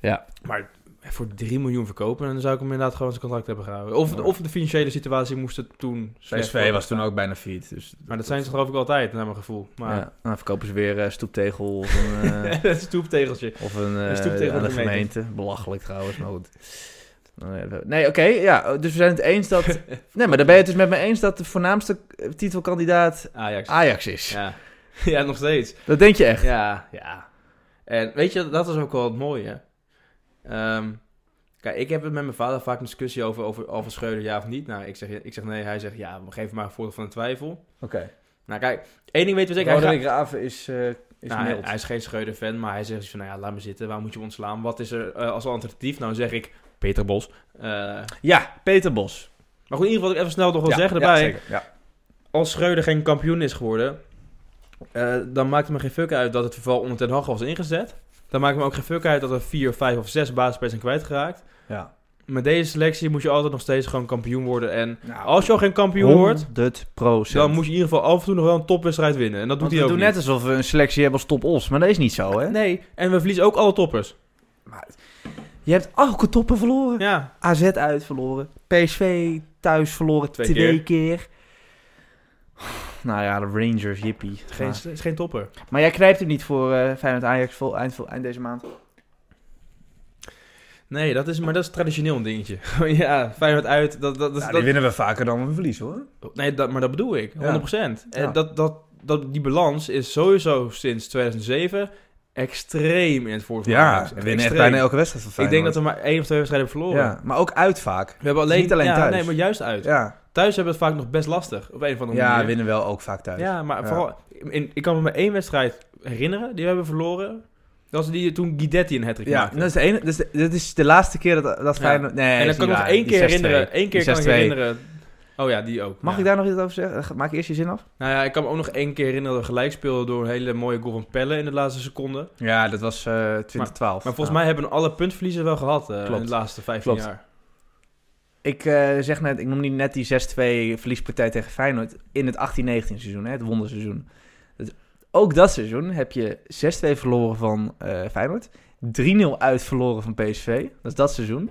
[SPEAKER 2] Ja.
[SPEAKER 3] Maar voor 3 miljoen verkopen, dan zou ik hem inderdaad gewoon zijn contract hebben gehouden. Of, of de financiële situatie moest het toen slecht
[SPEAKER 2] PSV was toen ook bijna failliet. Dus
[SPEAKER 3] Maar dat zijn ze geloof ik altijd, naar mijn gevoel. Maar
[SPEAKER 2] Ja. Dan verkopen ze weer eh, stoeptegel of een, eh,
[SPEAKER 3] dat is een toeptegeltje.
[SPEAKER 2] of een, eh,
[SPEAKER 3] Een stoeptegel
[SPEAKER 2] aan de
[SPEAKER 3] van de gemeente.
[SPEAKER 2] gemeente. Belachelijk trouwens, maar goed. Nou, Nee, oké, ja, dus we zijn het eens dat... Nee, maar dan ben je het dus met me eens dat de voornaamste eh, titelkandidaat
[SPEAKER 3] Ajax.
[SPEAKER 2] Ajax is.
[SPEAKER 3] Ja. ja, nog steeds.
[SPEAKER 2] Dat denk je echt.
[SPEAKER 3] Ja, ja. En weet je, dat is ook wel het mooie. Ehm, kijk, ik heb het met mijn vader vaak een discussie over, over Alvan Schreuder, ja of niet. Nou, ik zeg, ik zeg nee, hij zegt ja, we geven maar een voordeel van de twijfel.
[SPEAKER 2] Oké.
[SPEAKER 3] Nou, kijk, één ding weten we zeker.
[SPEAKER 2] Roderick
[SPEAKER 3] Hij, gaat-
[SPEAKER 2] Graven is, eh, is
[SPEAKER 3] Dus Nou, hij,
[SPEAKER 2] mild.
[SPEAKER 3] hij is geen Schreuder-fan, maar hij zegt van, nou ja, laat me zitten, waar moet je me ontslaan? Wat is er eh, als alternatief? Nou, zeg ik Peter Bos. Eh,
[SPEAKER 2] Ja, Peter Bos.
[SPEAKER 3] maar goed, in ieder geval, wat ik even snel nog wil zeggen erbij.
[SPEAKER 2] Ja.
[SPEAKER 3] als Schreuder geen kampioen is geworden, eh, dan maakt het me geen fuck uit dat het verval onder Ten Hag was ingezet. Dan maakt het me ook geen fuck uit dat er vier, vijf of zes basisspelers zijn kwijtgeraakt.
[SPEAKER 2] ja.
[SPEAKER 3] Met deze selectie moet je altijd nog steeds gewoon kampioen worden. En als je al geen kampioen wordt,
[SPEAKER 2] 100 Nou, procent.
[SPEAKER 3] dan moet je in ieder geval af en toe nog wel een topwedstrijd winnen. En dat doet hij
[SPEAKER 2] Want we
[SPEAKER 3] ook
[SPEAKER 2] doen
[SPEAKER 3] niet.
[SPEAKER 2] net alsof we een selectie hebben als top-os, maar dat is niet zo, hè?
[SPEAKER 3] Nee, en we verliezen ook alle toppers.
[SPEAKER 2] Je hebt elke toppen verloren.
[SPEAKER 3] Ja,
[SPEAKER 2] AZ uit verloren. PSV thuis verloren.
[SPEAKER 3] Twee
[SPEAKER 2] Twee,
[SPEAKER 3] keer.
[SPEAKER 2] keer. Nou ja, de Rangers, jippie.
[SPEAKER 3] geen,
[SPEAKER 2] Maar-
[SPEAKER 3] het is geen topper.
[SPEAKER 2] Maar jij knijpt hem niet voor eh Feyenoord Ajax vol, eind, vol- eind deze maand.
[SPEAKER 3] Nee, dat is, maar dat is traditioneel een dingetje. Oh ja, Feyenoord uit. Dat, dat, dat,
[SPEAKER 2] Ja,
[SPEAKER 3] dat-
[SPEAKER 2] Nou, die winnen we vaker dan we verliezen hoor.
[SPEAKER 3] nee, dat, maar dat bedoel ik. 100%.
[SPEAKER 2] Ja.
[SPEAKER 3] En dat, dat, dat, die balans is sowieso sinds 2007 extreem in het voordeel. van Ajax.
[SPEAKER 2] Ja, we winnen echt
[SPEAKER 3] Extreem.
[SPEAKER 2] bijna elke wedstrijd van
[SPEAKER 3] Ik denk dat
[SPEAKER 2] Feyenoord.
[SPEAKER 3] we maar één of twee wedstrijden hebben verloren.
[SPEAKER 2] Ja, maar ook uit vaak.
[SPEAKER 3] We hebben alleen,
[SPEAKER 2] Niet alleen
[SPEAKER 3] ja,
[SPEAKER 2] thuis.
[SPEAKER 3] Nee, maar juist uit.
[SPEAKER 2] Ja,
[SPEAKER 3] Thuis hebben we het vaak nog best lastig. Op een of andere
[SPEAKER 2] ja
[SPEAKER 3] manier.
[SPEAKER 2] winnen wel ook vaak thuis.
[SPEAKER 3] Ja, maar
[SPEAKER 2] Ja.
[SPEAKER 3] vooral... in- ik kan me maar één wedstrijd herinneren die we hebben verloren. Dat was die toen Guidetti een hat-trick
[SPEAKER 2] Ja,
[SPEAKER 3] maakte.
[SPEAKER 2] dat is, de ene, dat, is de, dat is de laatste keer dat, dat
[SPEAKER 3] Ja.
[SPEAKER 2] Feyenoord...
[SPEAKER 3] en
[SPEAKER 2] Nee, dat
[SPEAKER 3] dan
[SPEAKER 2] is
[SPEAKER 3] kan ik
[SPEAKER 2] niet
[SPEAKER 3] nog
[SPEAKER 2] waar.
[SPEAKER 3] één
[SPEAKER 2] Die
[SPEAKER 3] keer
[SPEAKER 2] 6-2.
[SPEAKER 3] herinneren. Eén keer
[SPEAKER 2] Die
[SPEAKER 3] kan ik
[SPEAKER 2] 6-2.
[SPEAKER 3] herinneren. Oh ja, die ook.
[SPEAKER 2] Mag
[SPEAKER 3] Ja.
[SPEAKER 2] ik daar nog iets over zeggen? Maak je eerst je zin af?
[SPEAKER 3] Nou ja, ik kan me ook nog één keer herinneren dat we gelijk speelden door een hele mooie goal van Pelle in de laatste seconde.
[SPEAKER 2] Ja, dat was eh 2012.
[SPEAKER 3] Maar volgens
[SPEAKER 2] Ja.
[SPEAKER 3] mij hebben we alle puntverliezen wel gehad eh,
[SPEAKER 2] Klopt.
[SPEAKER 3] in de laatste 15
[SPEAKER 2] Klopt.
[SPEAKER 3] jaar.
[SPEAKER 2] Ik eh, zeg net, ik noem niet net die 6-2 verliespartij tegen Feyenoord in het 18-19 seizoen, hè, het wonderseizoen. Het- ook dat seizoen heb je 6-2 verloren van eh, Feyenoord, 3-0 uit verloren van PSV, dat is dat seizoen.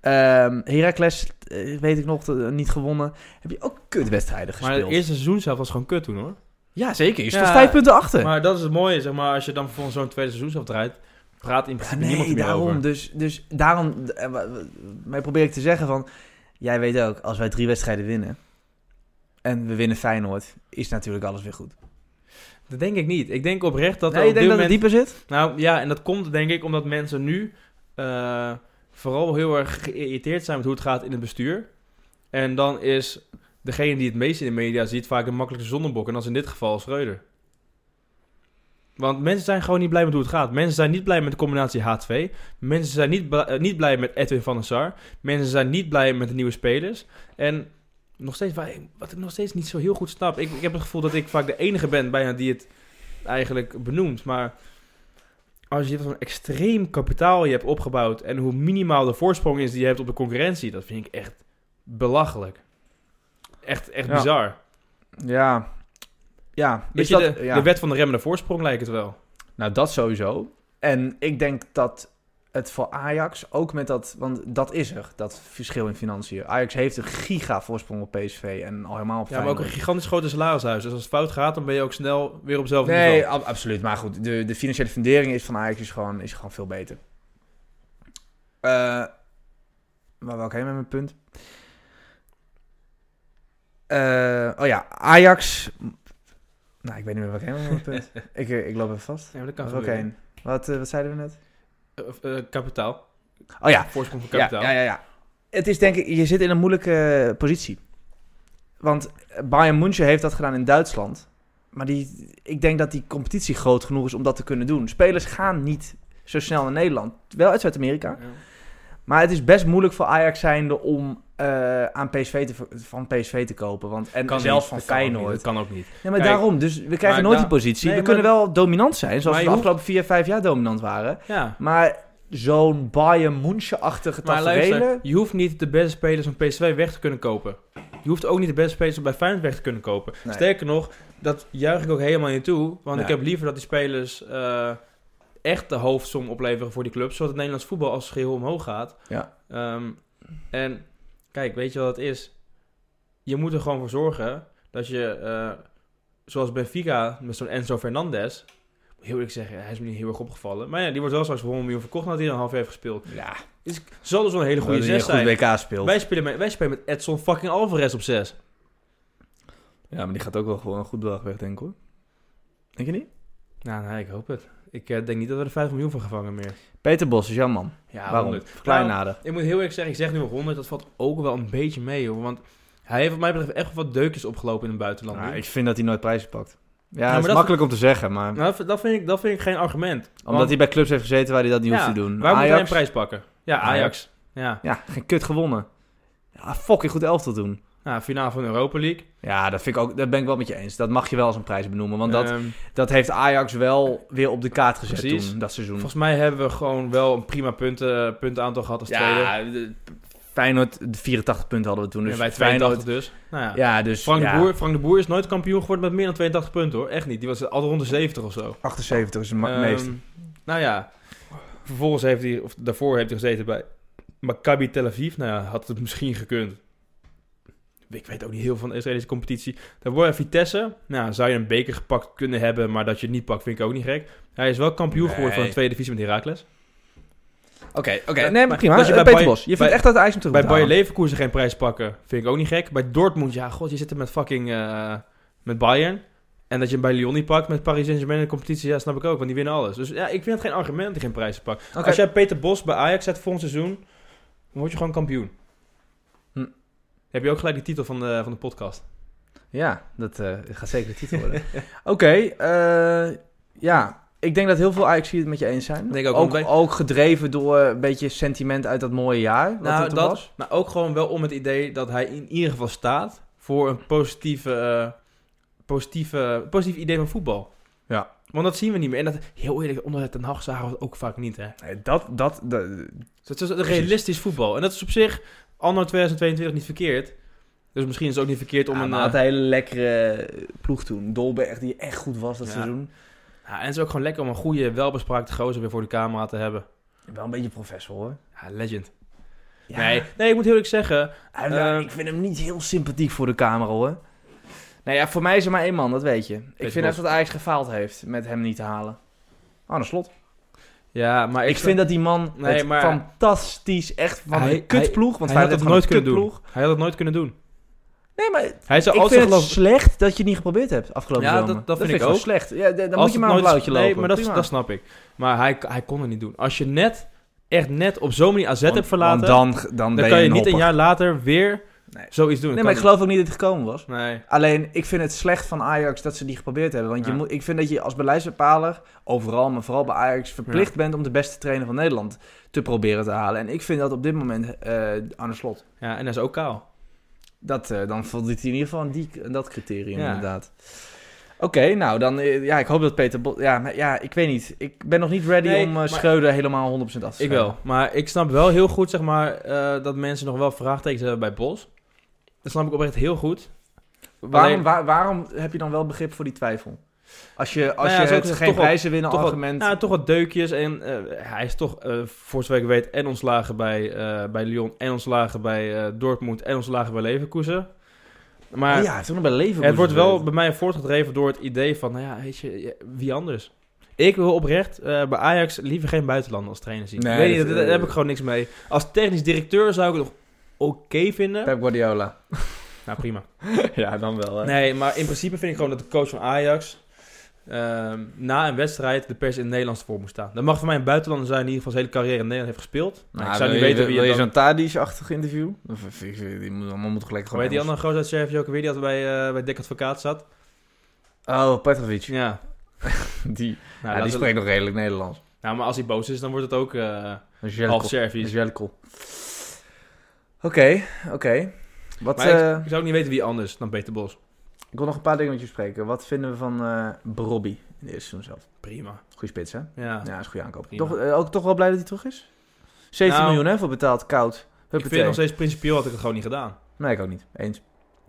[SPEAKER 2] Ehm Heracles, eh, weet ik nog, eh, niet gewonnen. Heb je ook kutwedstrijden
[SPEAKER 3] Maar
[SPEAKER 2] gespeeld?
[SPEAKER 3] het eerste seizoen zelf was gewoon kut toen hoor.
[SPEAKER 2] Ja, zeker. Je stond
[SPEAKER 3] Ja,
[SPEAKER 2] vijf punten achter.
[SPEAKER 3] Maar dat is het mooie, zeg maar, als je dan vervolgens zo'n tweede seizoen zelf draait, praat in
[SPEAKER 2] Ja,
[SPEAKER 3] principe niemand
[SPEAKER 2] Ah, nee,
[SPEAKER 3] er meer
[SPEAKER 2] daarom.
[SPEAKER 3] over.
[SPEAKER 2] Dus, dus daarom eh, wa- wa- mij probeer ik te zeggen van... Jij weet ook, als wij drie wedstrijden winnen... en we winnen Feyenoord, is natuurlijk alles weer goed.
[SPEAKER 3] Dat denk ik niet. Ik denk oprecht dat
[SPEAKER 2] nee,
[SPEAKER 3] er
[SPEAKER 2] je
[SPEAKER 3] op dit
[SPEAKER 2] denkt dat
[SPEAKER 3] moment...
[SPEAKER 2] het dieper zit?
[SPEAKER 3] Nou ja, en dat komt denk ik omdat mensen nu eh, vooral heel erg geïrriteerd zijn met hoe het gaat in het bestuur. En dan is degene die het meest in de media ziet vaak de makkelijkste zondebok. En dat is in dit geval Schreuder. Want mensen zijn gewoon niet blij met hoe het gaat. Mensen zijn niet blij met de combinatie H2. Mensen zijn niet, bla- eh, niet blij met Edwin van der Sar. Mensen zijn niet blij met de nieuwe spelers. En nog steeds, wa- wat ik nog steeds niet zo heel goed snap. Ik, ik heb het gevoel dat ik vaak de enige ben bijna die het eigenlijk benoemt. Maar als je zo'n extreem kapitaal je hebt opgebouwd en hoe minimaal de voorsprong is die je hebt op de concurrentie, dat vind ik echt belachelijk. Echt, echt
[SPEAKER 2] Ja.
[SPEAKER 3] bizar.
[SPEAKER 2] Ja. Ja.
[SPEAKER 3] Weet
[SPEAKER 2] Is
[SPEAKER 3] je,
[SPEAKER 2] dat,
[SPEAKER 3] de,
[SPEAKER 2] ja.
[SPEAKER 3] de wet van de remmende voorsprong lijkt het wel.
[SPEAKER 2] Nou, dat sowieso. En ik denk dat het voor Ajax ook met dat... Want dat is er, dat verschil in financiën. Ajax heeft een giga voorsprong op PSV en al helemaal op
[SPEAKER 3] Ja, maar ook een
[SPEAKER 2] Feyenoord.
[SPEAKER 3] gigantisch grote salarishuis. Dus als het fout gaat, dan ben je ook snel weer op hetzelfde
[SPEAKER 2] Nee,
[SPEAKER 3] niveau.
[SPEAKER 2] ab- absoluut. Maar goed, de, de financiële fundering is van Ajax is gewoon, is gewoon veel beter. Eh, waar wou ik heen met mijn punt? Eh, oh ja, Ajax. Nou, ik weet niet meer waar ik heen met mijn punt. ik, eh, ik loop even vast.
[SPEAKER 3] Ja, maar dat kan
[SPEAKER 2] Waar wou ik
[SPEAKER 3] gebeuren.
[SPEAKER 2] heen? Wat, eh, wat zeiden we net?
[SPEAKER 3] Eh, eh, kapitaal.
[SPEAKER 2] Oh ja,
[SPEAKER 3] Voorsprong van
[SPEAKER 2] ja,
[SPEAKER 3] kapitaal.
[SPEAKER 2] ja, ja, ja. Het is denk ik, je zit in een moeilijke eh, positie. Want eh, Bayern München heeft dat gedaan in Duitsland. Maar die, ik denk dat die competitie groot genoeg is om dat te kunnen doen. Spelers gaan niet zo snel naar Nederland. Wel uit Zuid-Amerika.
[SPEAKER 3] Ja.
[SPEAKER 2] Maar het is best moeilijk voor Ajax zijnde om eh, aan PSV te, ver- van PSV te kopen. Want, en
[SPEAKER 3] Kan
[SPEAKER 2] zelfs
[SPEAKER 3] niet,
[SPEAKER 2] van
[SPEAKER 3] dat kan ook niet,
[SPEAKER 2] Feyenoord.
[SPEAKER 3] Dat kan ook niet.
[SPEAKER 2] Ja, maar
[SPEAKER 3] Kijk,
[SPEAKER 2] daarom. Dus we krijgen nooit
[SPEAKER 3] da-
[SPEAKER 2] die positie.
[SPEAKER 3] nee,
[SPEAKER 2] we
[SPEAKER 3] maar-
[SPEAKER 2] kunnen wel dominant zijn. Zoals
[SPEAKER 3] Maar
[SPEAKER 2] we
[SPEAKER 3] je
[SPEAKER 2] de
[SPEAKER 3] hoeft-
[SPEAKER 2] afgelopen vier, vijf jaar dominant waren.
[SPEAKER 3] Ja.
[SPEAKER 2] Maar zo'n Bayern München-achtige
[SPEAKER 3] Maar luister,
[SPEAKER 2] tafereelen...
[SPEAKER 3] je hoeft niet de beste spelers van PSV weg te kunnen kopen. Je hoeft ook niet de beste spelers bij Feyenoord weg te kunnen kopen.
[SPEAKER 2] Nee.
[SPEAKER 3] Sterker nog, dat juich ik ook helemaal niet toe. Want
[SPEAKER 2] Ja.
[SPEAKER 3] ik heb liever dat die spelers eh, echt de hoofdsom opleveren voor die club. Zodat het Nederlands voetbal als geheel omhoog gaat.
[SPEAKER 2] Ja.
[SPEAKER 3] Ehm, en kijk, weet je wat het is? Je moet er gewoon voor zorgen dat je, eh, zoals Benfica met zo'n Enzo Fernandez... Heel eerlijk zeggen, hij is me niet heel erg opgevallen. Maar ja, die wordt wel straks voor 100 miljoen verkocht nadat hij een half jaar heeft gespeeld.
[SPEAKER 2] Ja,
[SPEAKER 3] Is, zal dus wel een hele goede
[SPEAKER 2] Dat hij
[SPEAKER 3] zes zijn.
[SPEAKER 2] een goed WK speelt.
[SPEAKER 3] Wij spelen, met, wij spelen met Edson fucking Alvarez op 6.
[SPEAKER 2] Ja, maar die gaat ook wel gewoon een goed bedrag weg, denk ik hoor. Denk je niet?
[SPEAKER 3] Nou, nee, ik hoop het. Ik eh, denk niet dat we er 5 miljoen van gevangen meer.
[SPEAKER 2] Peter Bos is jouw man.
[SPEAKER 3] Ja,
[SPEAKER 2] Waarom?
[SPEAKER 3] honderd.
[SPEAKER 2] Klein
[SPEAKER 3] Nou,
[SPEAKER 2] nader.
[SPEAKER 3] ik moet heel erg zeggen, ik zeg nu 100, dat valt ook wel een beetje mee, hoor. Want hij heeft wat mij betreft echt wel wat deukjes opgelopen in het buitenland. nu.
[SPEAKER 2] ik vind dat hij nooit prijzen pakt. Ja,
[SPEAKER 3] maar
[SPEAKER 2] dat is
[SPEAKER 3] dat-
[SPEAKER 2] makkelijk om te zeggen, maar...
[SPEAKER 3] Nou, dat, dat vind ik, dat vind ik geen argument.
[SPEAKER 2] omdat hij bij clubs heeft gezeten waar hij dat niet
[SPEAKER 3] ja,
[SPEAKER 2] hoeft te doen.
[SPEAKER 3] Waar moet hij een
[SPEAKER 2] Ajax,
[SPEAKER 3] prijs pakken? Ja, Ajax.
[SPEAKER 2] Ajax.
[SPEAKER 3] Ja,
[SPEAKER 2] Ja, geen kut gewonnen. Ja, fucking goed elftal doen.
[SPEAKER 3] nou, finale van de Europa League.
[SPEAKER 2] Ja, dat, vind ik ook, dat ben ik wel met je eens. Dat mag je wel als een prijs benoemen. Want dat,
[SPEAKER 3] Ehm,
[SPEAKER 2] dat heeft Ajax wel weer op de kaart gezet
[SPEAKER 3] Precies.
[SPEAKER 2] toen, dat seizoen.
[SPEAKER 3] volgens mij hebben we gewoon wel een prima punten, puntenaantal gehad als tweede.
[SPEAKER 2] Ja, de- Feyenoord, de 84 punten hadden we toen. Dus
[SPEAKER 3] en wij
[SPEAKER 2] Feyenoord-
[SPEAKER 3] 82 dus. Nou ja.
[SPEAKER 2] Ja, dus...
[SPEAKER 3] Frank,
[SPEAKER 2] ja.
[SPEAKER 3] de Boer, Frank de Boer is nooit kampioen geworden met meer dan 82 punten hoor. Echt niet. Die was altijd rond de 70 of zo.
[SPEAKER 2] 78 is de ma-
[SPEAKER 3] Ehm,
[SPEAKER 2] meeste.
[SPEAKER 3] Nou ja, vervolgens heeft hij, of daarvoor heeft hij gezeten bij Maccabi Tel Aviv. Nou ja, had het misschien gekund. Ik weet ook niet heel veel van de Israëlische competitie. Daarvoor bij Vitesse. Nou, zou je een beker gepakt kunnen hebben, maar dat je het niet pakt, vind ik ook niet gek. Hij is wel kampioen
[SPEAKER 2] Nee.
[SPEAKER 3] geworden van de tweede divisie met Heracles.
[SPEAKER 2] oké.
[SPEAKER 3] Ja,
[SPEAKER 2] nee,
[SPEAKER 3] maar
[SPEAKER 2] maar prima.
[SPEAKER 3] als je bij
[SPEAKER 2] Eh, Peter
[SPEAKER 3] Bayer-
[SPEAKER 2] Bos. Je vindt
[SPEAKER 3] bij-
[SPEAKER 2] echt dat de IJs hem terug
[SPEAKER 3] Bij
[SPEAKER 2] moet
[SPEAKER 3] Bayer
[SPEAKER 2] halen.
[SPEAKER 3] Leverkusen geen prijs pakken vind ik ook niet gek. Bij Dortmund, ja, god, je zit er met fucking eh, met Bayern. En dat je hem bij Lyon niet pakt met Paris Saint-Germain in de competitie, ja, snap ik ook, want die winnen alles. Dus ja, ik vind het geen argument dat hij geen prijs pakt.
[SPEAKER 2] Oké.
[SPEAKER 3] Als jij Peter Bos bij Ajax zet volgend seizoen, dan word je gewoon kampioen.
[SPEAKER 2] Hm.
[SPEAKER 3] Heb je ook gelijk de titel van de, van de podcast?
[SPEAKER 2] Ja, dat eh, gaat zeker de titel worden. Oké, eh, ja. Ik denk dat heel veel Ajax het met je eens zijn.
[SPEAKER 3] Denk ik ook,
[SPEAKER 2] ook,
[SPEAKER 3] want
[SPEAKER 2] ook gedreven door eh, een beetje sentiment uit dat mooie jaar. Wat er toen was.
[SPEAKER 3] maar Nou, ook gewoon wel om het idee dat hij in ieder geval staat voor een positieve, eh, positieve, positief idee van voetbal.
[SPEAKER 2] Ja.
[SPEAKER 3] Want dat zien we niet meer. En dat, heel eerlijk, onder Ten Hag zagen we het ook vaak niet, hè.
[SPEAKER 2] Nee, Dat, dat, de-
[SPEAKER 3] Dus het is realistisch voetbal. En dat is op zich anno 2022 niet verkeerd. Dus misschien is het ook niet verkeerd om
[SPEAKER 2] Ja,
[SPEAKER 3] een...
[SPEAKER 2] maar
[SPEAKER 3] eh,
[SPEAKER 2] had een hele lekkere ploeg toen. Dolberg, die echt goed was dat
[SPEAKER 3] Ja.
[SPEAKER 2] seizoen.
[SPEAKER 3] ja, en het is ook gewoon lekker om een goede, welbespraakte gozer weer voor de camera te hebben.
[SPEAKER 2] Wel een beetje professor hoor.
[SPEAKER 3] Ja, legend.
[SPEAKER 2] Ja.
[SPEAKER 3] Nee, nee, ik moet heel eerlijk zeggen...
[SPEAKER 2] Hij- ja,
[SPEAKER 3] Eh,
[SPEAKER 2] Ah, nou, ik vind hem niet heel sympathiek voor de camera hoor. Nou ja, voor mij is er maar één man, dat weet je. ik vind
[SPEAKER 3] Bos.
[SPEAKER 2] echt dat Ajax gefaald heeft met hem niet te halen. Arne Slot.
[SPEAKER 3] Ja, maar
[SPEAKER 2] Ik, vind dat die man
[SPEAKER 3] Nee,
[SPEAKER 2] het
[SPEAKER 3] maar-
[SPEAKER 2] fantastisch, echt van
[SPEAKER 3] Hij-
[SPEAKER 2] een kutploeg. Want
[SPEAKER 3] hij had
[SPEAKER 2] hij
[SPEAKER 3] dat
[SPEAKER 2] had
[SPEAKER 3] nooit
[SPEAKER 2] het
[SPEAKER 3] kunnen
[SPEAKER 2] nooit
[SPEAKER 3] doen.
[SPEAKER 2] ploeg.
[SPEAKER 3] Hij had het nooit kunnen doen.
[SPEAKER 2] Nee, maar
[SPEAKER 3] Hij zou
[SPEAKER 2] ik
[SPEAKER 3] altijd
[SPEAKER 2] vind
[SPEAKER 3] geloof...
[SPEAKER 2] het slecht dat je het niet geprobeerd hebt afgelopen
[SPEAKER 3] Ja,
[SPEAKER 2] zomer.
[SPEAKER 3] dat- dat vind ik
[SPEAKER 2] gewoon
[SPEAKER 3] ook.
[SPEAKER 2] slecht. Ja, d- dan
[SPEAKER 3] Als
[SPEAKER 2] moet je
[SPEAKER 3] het
[SPEAKER 2] maar een
[SPEAKER 3] nooit-
[SPEAKER 2] blauwtje lopen.
[SPEAKER 3] Nee, maar dat,
[SPEAKER 2] Prima.
[SPEAKER 3] dat snap ik. Maar hij, hij kon het niet doen. Als je net, echt net op zo'n manier AZ
[SPEAKER 2] Want-
[SPEAKER 3] hebt verlaten...
[SPEAKER 2] want dan, dan, ben
[SPEAKER 3] dan kan je niet
[SPEAKER 2] hopper.
[SPEAKER 3] een jaar later weer
[SPEAKER 2] Nee.
[SPEAKER 3] zoiets doen.
[SPEAKER 2] Nee,
[SPEAKER 3] Dat
[SPEAKER 2] maar ik
[SPEAKER 3] kan
[SPEAKER 2] geloof ook niet dat het gekomen was.
[SPEAKER 3] niet. Nee.
[SPEAKER 2] Alleen, ik vind het slecht van Ajax dat ze die geprobeerd hebben. Want
[SPEAKER 3] Ja.
[SPEAKER 2] je moet, ik vind dat je als beleidsbepaler, overal, maar vooral bij Ajax, verplicht bent om de beste trainer van Nederland te proberen te halen. En ik vind dat op dit moment eh aan de slot.
[SPEAKER 3] Ja, en hij is ook kaal.
[SPEAKER 2] Dat, eh, dan voldoet hij in ieder geval aan die, aan dat criterium,
[SPEAKER 3] Ja.
[SPEAKER 2] inderdaad. Oké, nou dan, eh, ja, ik hoop dat Peter Bos... Ja, maar ja, ik weet niet. Ik ben nog niet ready
[SPEAKER 3] Nee,
[SPEAKER 2] om eh,
[SPEAKER 3] maar-
[SPEAKER 2] Schreuder helemaal 100% af te
[SPEAKER 3] Ik
[SPEAKER 2] schrijven.
[SPEAKER 3] wel. Maar ik snap wel heel goed, zeg maar, eh, dat mensen nog wel vraagtekens hebben bij Bos. Dat snap ik oprecht heel goed.
[SPEAKER 2] Waarom,
[SPEAKER 3] Alleen-
[SPEAKER 2] waar- waarom heb je dan wel begrip voor die twijfel? Als je, als
[SPEAKER 3] Nou ja,
[SPEAKER 2] je
[SPEAKER 3] zo
[SPEAKER 2] het
[SPEAKER 3] gezegd,
[SPEAKER 2] geen
[SPEAKER 3] toch wel-
[SPEAKER 2] prijzen winnen
[SPEAKER 3] toch wel-
[SPEAKER 2] argument...
[SPEAKER 3] Nou, toch wat deukjes. En eh, hij is toch, eh, voor zover ik weet, en ontslagen bij, eh, bij Lyon, en ontslagen bij eh, Dortmund, en ontslagen bij Leverkusen. Maar
[SPEAKER 2] Oh ja, hij heeft ook nog bij leven.
[SPEAKER 3] het wordt wel bij mij voortgedreven door het idee van, nou ja, weet je, ja, wie anders? Ik wil oprecht eh, bij Ajax liever geen buitenlander als trainer zien.
[SPEAKER 2] Nee,
[SPEAKER 3] ik weet niet,
[SPEAKER 2] dat-
[SPEAKER 3] daar, daar heb
[SPEAKER 2] eh,
[SPEAKER 3] ik gewoon niks mee. Als technisch directeur zou ik het nog oké vinden.
[SPEAKER 2] Pep Guardiola.
[SPEAKER 3] Nou, prima.
[SPEAKER 2] ja, dan wel.
[SPEAKER 3] Nee, maar in principe vind ik gewoon dat de coach van Ajax ehm, na een wedstrijd de pers in het Nederlands voor moet staan. Dat mag voor mij een buitenlander zijn die in ieder geval zijn hele carrière in Nederland heeft gespeeld. Maar ik zou niet weten wie
[SPEAKER 2] Nou, Ah, je
[SPEAKER 3] het dan...
[SPEAKER 2] zo'n Tadic-achtig interview? Of, of- ik- die moet, allemaal moet gelijk
[SPEAKER 3] Hoe
[SPEAKER 2] gewoon...
[SPEAKER 3] heet die andere gozer uit Servië ook weer die altijd bij, eh, bij Dick Advocaat zat?
[SPEAKER 2] Oh, Petrovic.
[SPEAKER 3] Ja. Nou,
[SPEAKER 2] Die, ja,
[SPEAKER 3] laten
[SPEAKER 2] die
[SPEAKER 3] we-
[SPEAKER 2] spreekt nog redelijk Nederlands.
[SPEAKER 3] nou, maar als hij boos is, dan wordt het ook eh
[SPEAKER 2] Dat is
[SPEAKER 3] half
[SPEAKER 2] Jelko. Dat
[SPEAKER 3] Servisch.
[SPEAKER 2] is Jelko. Oké, oké. Wat...
[SPEAKER 3] Maar ik,
[SPEAKER 2] eh,
[SPEAKER 3] ik zou ook niet weten wie anders dan Peter Bos.
[SPEAKER 2] Ik wil nog een paar dingen met je spreken. Wat vinden we van eh Brobby in de eerste seizoen zelf?
[SPEAKER 3] Prima.
[SPEAKER 2] Goeie spits, hè?
[SPEAKER 3] Ja.
[SPEAKER 2] Ja, is een goede aankoop.
[SPEAKER 3] Prima.
[SPEAKER 2] Toch, eh, ook toch wel blij dat hij terug is? 17
[SPEAKER 3] Nou,
[SPEAKER 2] miljoen, hè, voor betaald, koud.
[SPEAKER 3] Ik vind
[SPEAKER 2] Huppatee.
[SPEAKER 3] nog steeds principieel had ik het gewoon niet gedaan.
[SPEAKER 2] Nee, ik ook niet. Eens.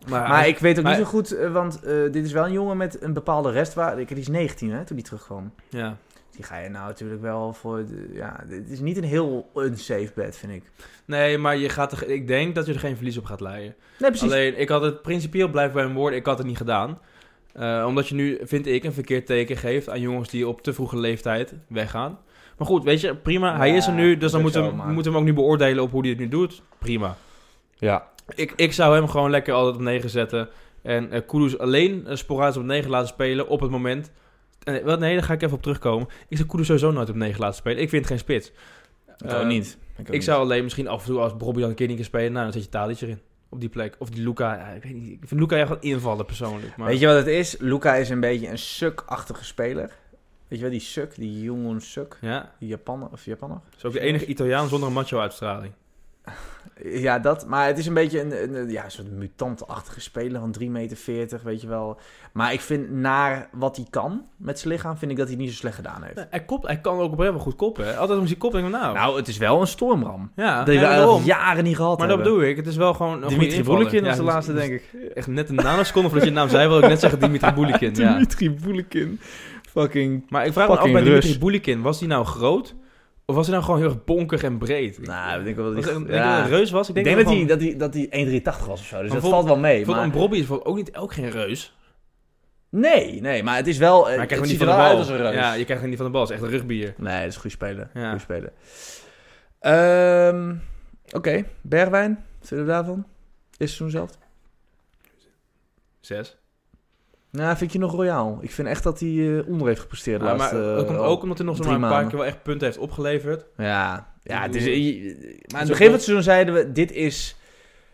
[SPEAKER 3] Maar,
[SPEAKER 2] maar ik weet ook
[SPEAKER 3] maar-
[SPEAKER 2] niet zo goed, eh, want eh, dit is wel een jongen met een bepaalde restwaarde. Ik- Die is 19, hè, toen die terugkwam.
[SPEAKER 3] Ja.
[SPEAKER 2] Die ga je nou natuurlijk wel voor... de- ja, dit is niet een heel unsafe bed, vind ik.
[SPEAKER 3] Nee, maar je gaat er, ik denk dat je er geen verlies op gaat leiden.
[SPEAKER 2] Nee, precies.
[SPEAKER 3] Alleen, ik had het principieel blijven bij mijn woorden. Ik had het niet gedaan. Eh, omdat je nu, vind ik, een verkeerd teken geeft aan jongens die op te vroege leeftijd weggaan. Maar goed, weet je, prima. hij
[SPEAKER 2] Ja,
[SPEAKER 3] is er nu, dus
[SPEAKER 2] dat
[SPEAKER 3] dan
[SPEAKER 2] is
[SPEAKER 3] moeten we
[SPEAKER 2] wel, maar-
[SPEAKER 3] hem, moeten we hem ook nu beoordelen op hoe hij het nu doet. Prima.
[SPEAKER 2] Ja.
[SPEAKER 3] Ik, ik zou hem gewoon lekker altijd op 9 zetten. En eh Kudus alleen eh, sporadisch op 9 laten spelen op het moment. Eh, wel, nee, daar ga ik even op terugkomen. Ik zou Kudus sowieso nooit op 9 laten spelen. Ik vind het geen spits.
[SPEAKER 2] Ik ook
[SPEAKER 3] Eh,
[SPEAKER 2] niet. ook
[SPEAKER 3] ik zou alleen misschien af en toe als Bobby dan een keer niet kan spelen, nou, dan zet je Tadic erin. Op die plek. Of die Luca. Ja, ik weet niet. Ik vind Luca echt wel invallen persoonlijk. Maar...
[SPEAKER 2] Weet je wat het is? Luca is een beetje een sukachtige speler. Weet je wel, die suk, die jongen suk.
[SPEAKER 3] Ja.
[SPEAKER 2] Die Japaner, of Japaner?
[SPEAKER 3] Is ook de enige Italiaan zonder een macho-uitstraling.
[SPEAKER 2] Ja, dat. Maar het is een beetje een, een, een- ja, een soort mutantachtige speler van 3,40 meter, weet je wel. Maar ik vind, naar wat hij kan met zijn lichaam, vind ik dat hij het niet zo slecht gedaan heeft.
[SPEAKER 3] hij, kop, hij kan ook oprecht wel goed koppen. Hè. Altijd om zijn kop denk ik, nou.
[SPEAKER 2] Nou, het is wel een stormram.
[SPEAKER 3] ja,
[SPEAKER 2] die
[SPEAKER 3] Ah, ja,
[SPEAKER 2] we al
[SPEAKER 3] daarom.
[SPEAKER 2] jaren niet gehad
[SPEAKER 3] Maar dat
[SPEAKER 2] hebben.
[SPEAKER 3] bedoel ik. Het is wel gewoon een
[SPEAKER 2] Dimitri Boelikin was de laatste, denk
[SPEAKER 3] ik. dus Echt net een nanoseconde voordat je de naam zei, wil ik net zeggen Dimitri Boelikin. ja.
[SPEAKER 2] Dimitri Boelekin. Fucking...
[SPEAKER 3] Maar ik vraag me af
[SPEAKER 2] Fucking
[SPEAKER 3] bij
[SPEAKER 2] Rus.
[SPEAKER 3] Dimitri Boelikin, was hij nou groot? Of was hij nou gewoon heel erg bonkig en breed?
[SPEAKER 2] Nou, ik denk wel
[SPEAKER 3] Was
[SPEAKER 2] dat
[SPEAKER 3] hij-
[SPEAKER 2] hij...
[SPEAKER 3] denk je dat hij een
[SPEAKER 2] ja.
[SPEAKER 3] reus was?
[SPEAKER 2] Ik denk dat
[SPEAKER 3] hij
[SPEAKER 2] hij, dat hij, dat hij 1,83 was of zo, dus
[SPEAKER 3] Maar
[SPEAKER 2] dat
[SPEAKER 3] vol-
[SPEAKER 2] valt wel mee.
[SPEAKER 3] Voor
[SPEAKER 2] maar-
[SPEAKER 3] een Brobby is bijvoorbeeld ook, niet, ook geen reus.
[SPEAKER 2] Nee, nee, maar het is wel... eh,
[SPEAKER 3] Maar hij
[SPEAKER 2] het
[SPEAKER 3] krijgt hem
[SPEAKER 2] ziet
[SPEAKER 3] niet
[SPEAKER 2] er
[SPEAKER 3] van
[SPEAKER 2] wel
[SPEAKER 3] de
[SPEAKER 2] uit
[SPEAKER 3] bal.
[SPEAKER 2] als een reus.
[SPEAKER 3] Ja, je krijgt hem niet van de bal. Het is echt een rugbier.
[SPEAKER 2] Nee, dat is goed spelen.
[SPEAKER 3] Ja.
[SPEAKER 2] Goed spelen. Ehm, Oké, Bergwijn, wat vinden we daarvan? Is het seizoen zelf?
[SPEAKER 3] Zes.
[SPEAKER 2] Nou, vind je nog royaal. Ik vind echt dat hij eh, onder heeft gepresteerd. de
[SPEAKER 3] Ja, maar
[SPEAKER 2] laatste,
[SPEAKER 3] dat komt
[SPEAKER 2] eh,
[SPEAKER 3] ook omdat hij nog
[SPEAKER 2] drie
[SPEAKER 3] zomaar een paar
[SPEAKER 2] maanden.
[SPEAKER 3] keer wel echt punten heeft opgeleverd.
[SPEAKER 2] Ja, ja het is...
[SPEAKER 3] bedoel,
[SPEAKER 2] je- Maar aan
[SPEAKER 3] ook
[SPEAKER 2] het begin van
[SPEAKER 3] wel-
[SPEAKER 2] het seizoen zeiden we... Dit is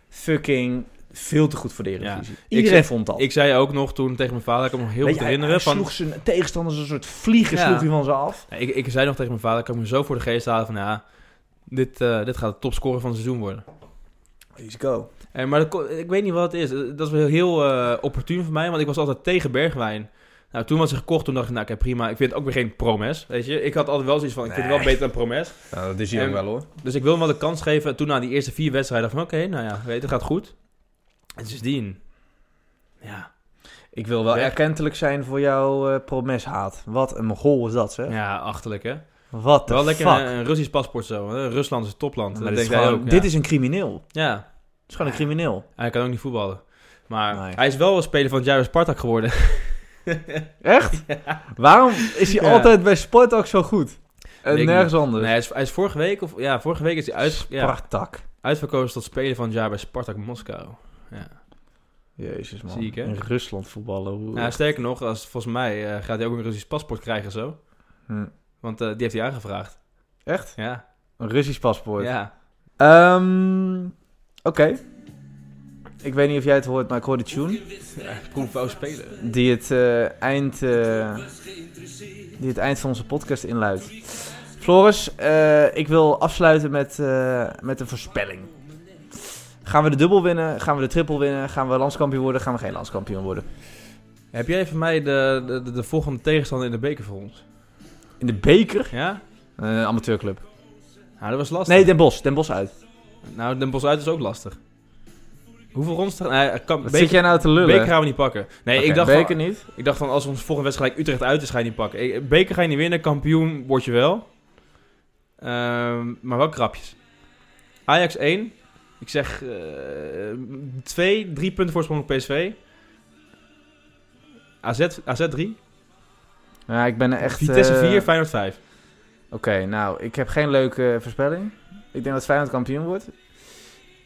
[SPEAKER 2] fucking veel te goed voor de Eredivisie. Iedereen
[SPEAKER 3] zeg-
[SPEAKER 2] vond dat.
[SPEAKER 3] Ik zei ook nog toen tegen mijn vader, ik kan me nog heel
[SPEAKER 2] Weet
[SPEAKER 3] goed
[SPEAKER 2] je, hij-
[SPEAKER 3] herinneren.
[SPEAKER 2] Hij
[SPEAKER 3] Van,
[SPEAKER 2] sloeg zijn tegenstanders als een soort vliegen
[SPEAKER 3] Ja.
[SPEAKER 2] sloeg hij van ze af.
[SPEAKER 3] Ja, ik, ik zei nog tegen mijn vader, ik kan me zo voor de geest halen van ja, dit, eh, dit gaat de topscorer van het seizoen worden.
[SPEAKER 2] Let's go.
[SPEAKER 3] Eh, maar dat ko- ik weet niet wat het is. Eh, Dat is wel heel eh, opportun voor mij, want ik was altijd tegen Bergwijn. Nou, toen was ze gekocht, toen dacht ik, nou oké, prima. Ik vind het ook weer geen promes, weet je. Ik had altijd wel zoiets van, ik vind het wel beter dan promes.
[SPEAKER 2] Nou, dat is
[SPEAKER 3] hier ook
[SPEAKER 2] wel hoor.
[SPEAKER 3] Dus ik wil hem wel de kans geven. En toen na die eerste vier wedstrijden van, oké, nou ja, weet je, het gaat goed. En sindsdien, ja,
[SPEAKER 2] Ik wil wel
[SPEAKER 3] Weg.
[SPEAKER 2] erkentelijk zijn voor jouw eh, promeshaat. Wat een mogol is dat, zeg.
[SPEAKER 3] ja achterlijk hè.
[SPEAKER 2] Wat de
[SPEAKER 3] Wel
[SPEAKER 2] fuck.
[SPEAKER 3] lekker een, een Russisch paspoort zo. hè. Rusland is een topland.
[SPEAKER 2] Maar
[SPEAKER 3] dat
[SPEAKER 2] dit is
[SPEAKER 3] denkt hij
[SPEAKER 2] gewoon-
[SPEAKER 3] ook, ja.
[SPEAKER 2] Dit is een crimineel. Het
[SPEAKER 3] Ja,
[SPEAKER 2] is gewoon een crimineel.
[SPEAKER 3] hij kan ook niet voetballen. Maar
[SPEAKER 2] Nee.
[SPEAKER 3] hij is wel een speler van het jaar bij Spartak geworden.
[SPEAKER 2] Echt? Waarom is hij
[SPEAKER 3] Ja.
[SPEAKER 2] altijd bij Spartak zo goed? En
[SPEAKER 3] Weet ik
[SPEAKER 2] nergens anders.
[SPEAKER 3] Nee, hij is, hij is vorige week of ja, vorige week is hij uit, ja,
[SPEAKER 2] Spartak.
[SPEAKER 3] uitverkozen tot speler van het jaar bij Spartak Moskou.
[SPEAKER 2] Jezus man.
[SPEAKER 3] Zie ik, hè?
[SPEAKER 2] In Rusland voetballen. Hoe...
[SPEAKER 3] Nou, sterker nog, als, volgens mij eh, gaat hij ook een Russisch paspoort krijgen zo.
[SPEAKER 2] Hm.
[SPEAKER 3] Want eh, die heeft hij aangevraagd.
[SPEAKER 2] Echt?
[SPEAKER 3] Ja.
[SPEAKER 2] Een Russisch paspoort.
[SPEAKER 3] ja.
[SPEAKER 2] Ehm, Oké. Ik weet niet of jij het hoort, maar ik hoor de tune.
[SPEAKER 3] Proef wou spelen.
[SPEAKER 2] Die het, eh, eind, eh, die het eind van onze podcast inluidt. Floris, eh, ik wil afsluiten met, eh, met een voorspelling. Gaan we de dubbel winnen? Gaan we de triple winnen? Gaan we landskampioen worden? Gaan we geen landskampioen worden?
[SPEAKER 3] Heb jij voor mij de, de, de- de volgende tegenstander in de beker voor ons?
[SPEAKER 2] In de beker?
[SPEAKER 3] Ja?
[SPEAKER 2] Eh, amateurclub.
[SPEAKER 3] Nou, dat was lastig.
[SPEAKER 2] Nee, Den Bosch. Den Bosch uit.
[SPEAKER 3] Nou, Den Bosch uit is ook lastig. Hoeveel rondes? te- Nee, eh, kan,
[SPEAKER 2] Wat
[SPEAKER 3] beker,
[SPEAKER 2] zit jij nou te lullen?
[SPEAKER 3] beker gaan we niet pakken. Nee,
[SPEAKER 2] Oké,
[SPEAKER 3] ik dacht
[SPEAKER 2] beker
[SPEAKER 3] van,
[SPEAKER 2] niet.
[SPEAKER 3] Ik dacht van, als ons volgende wedstrijd gelijk Utrecht uit is, ga je niet pakken. Ik- Beker ga je niet winnen, kampioen word je wel. Ehm, maar wel krapjes. Ajax 1. Ik zeg eh, twee, drie punten voorsprong op PSV. AZ, AZ 3.
[SPEAKER 2] Ja, ik ben er echt...
[SPEAKER 3] Vitesse
[SPEAKER 2] eh,
[SPEAKER 3] 4, Feyenoord 5.
[SPEAKER 2] Oké, nou, ik heb geen leuke voorspelling. Ik denk dat Feyenoord kampioen wordt.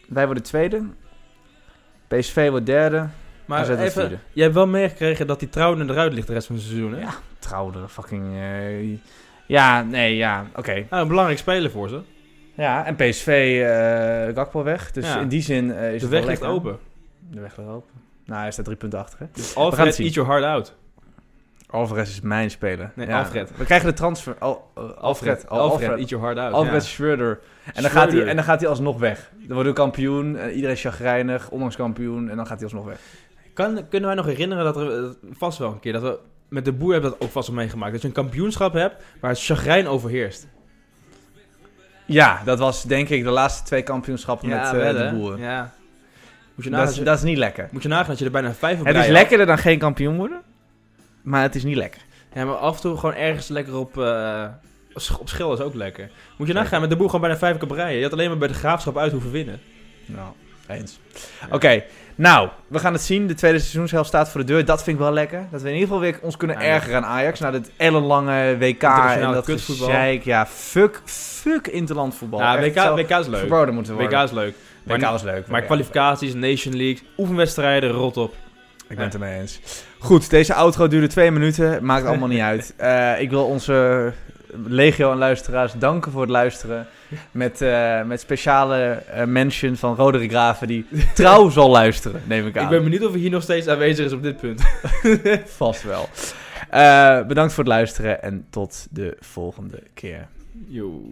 [SPEAKER 2] Wij worden tweede. PSV wordt derde.
[SPEAKER 3] Maar
[SPEAKER 2] AZ wordt
[SPEAKER 3] even,
[SPEAKER 2] vierde.
[SPEAKER 3] jij hebt wel meegekregen dat die trouwen eruit ligt de rest van het seizoen, hè?
[SPEAKER 2] Ja. Trouwde, fucking... eh, Ja, nee, ja, oké.
[SPEAKER 3] Nou, een belangrijk speler voor ze.
[SPEAKER 2] Ja, en PSV eh Gakpo weg. Dus
[SPEAKER 3] Ja.
[SPEAKER 2] in die zin eh,
[SPEAKER 3] De
[SPEAKER 2] is het
[SPEAKER 3] weg
[SPEAKER 2] wel
[SPEAKER 3] ligt
[SPEAKER 2] lekker.
[SPEAKER 3] open.
[SPEAKER 2] De weg ligt open. Nou, hij staat drie punten achter, hè.
[SPEAKER 3] Dus
[SPEAKER 2] gaan het
[SPEAKER 3] Alfred,
[SPEAKER 2] zien.
[SPEAKER 3] eat your heart out.
[SPEAKER 2] Alvarez is mijn speler.
[SPEAKER 3] Nee, Alfred.
[SPEAKER 2] We krijgen de transfer... Al, eh, Alfred.
[SPEAKER 3] Alfred,
[SPEAKER 2] Al- Alfred.
[SPEAKER 3] eat your heart out.
[SPEAKER 2] Alfred
[SPEAKER 3] ja.
[SPEAKER 2] Schroeder. En dan,
[SPEAKER 3] Schreuder.
[SPEAKER 2] gaat hij, en dan gaat hij alsnog weg. Dan worden we kampioen. eh, iedereen is chagrijnig. Ondanks kampioen. En dan gaat hij alsnog weg.
[SPEAKER 3] Kan, kunnen wij nog herinneren dat er eh, vast wel een keer dat we met de boer hebben we dat ook vast wel meegemaakt. Dat je een kampioenschap hebt waar het chagrijn overheerst.
[SPEAKER 2] Ja, dat was denk ik de laatste twee kampioenschappen met eh,
[SPEAKER 3] wel,
[SPEAKER 2] de
[SPEAKER 3] hè?
[SPEAKER 2] boeren.
[SPEAKER 3] Ja. Moet je nagaan
[SPEAKER 2] Dat,
[SPEAKER 3] dat,
[SPEAKER 2] is,
[SPEAKER 3] je-
[SPEAKER 2] dat is niet lekker.
[SPEAKER 3] moet je nagaan dat je er bijna vijf op
[SPEAKER 2] Het
[SPEAKER 3] rij
[SPEAKER 2] is
[SPEAKER 3] had.
[SPEAKER 2] lekkerder dan geen kampioen worden. Maar het is niet lekker.
[SPEAKER 3] Ja, maar af en toe gewoon ergens lekker op, eh, sch- op schil is ook lekker. Moet je nagaan met de boer gewoon bijna vijf keer op rij. Je had alleen maar bij de graafschap uit hoeven winnen.
[SPEAKER 2] Nou, eens. Oké, nou, we gaan het zien. De tweede seizoenshelft staat voor de deur. Dat vind ik wel lekker. Dat we in ieder geval weer ons kunnen
[SPEAKER 3] Ja,
[SPEAKER 2] ergeren aan Ajax. Na dit ellenlange WK en
[SPEAKER 3] Internationale
[SPEAKER 2] dat
[SPEAKER 3] kutvoetbal.
[SPEAKER 2] gezeik. Ja, fuck, fuck interland voetbal.
[SPEAKER 3] Ja,
[SPEAKER 2] Echt,
[SPEAKER 3] WK,
[SPEAKER 2] het zou
[SPEAKER 3] WK is leuk.
[SPEAKER 2] verboden moeten
[SPEAKER 3] WK
[SPEAKER 2] worden.
[SPEAKER 3] is leuk.
[SPEAKER 2] WK
[SPEAKER 3] maar-
[SPEAKER 2] is leuk.
[SPEAKER 3] Maar
[SPEAKER 2] ja.
[SPEAKER 3] kwalificaties, Nation League, oefenwedstrijden, rot op.
[SPEAKER 2] Ik ben het ermee eens. Goed, deze outro duurde twee minuten. Maakt allemaal niet uit. Eh, ik wil onze legio en luisteraars danken voor het luisteren. Met, eh, met speciale eh, mention van Roderick Graven, die trouw zal luisteren, neem ik aan.
[SPEAKER 3] Ik ben benieuwd of hij hier nog steeds aanwezig is op dit punt.
[SPEAKER 2] Vast wel. Eh, bedankt voor het luisteren en tot de volgende keer.
[SPEAKER 3] Yo.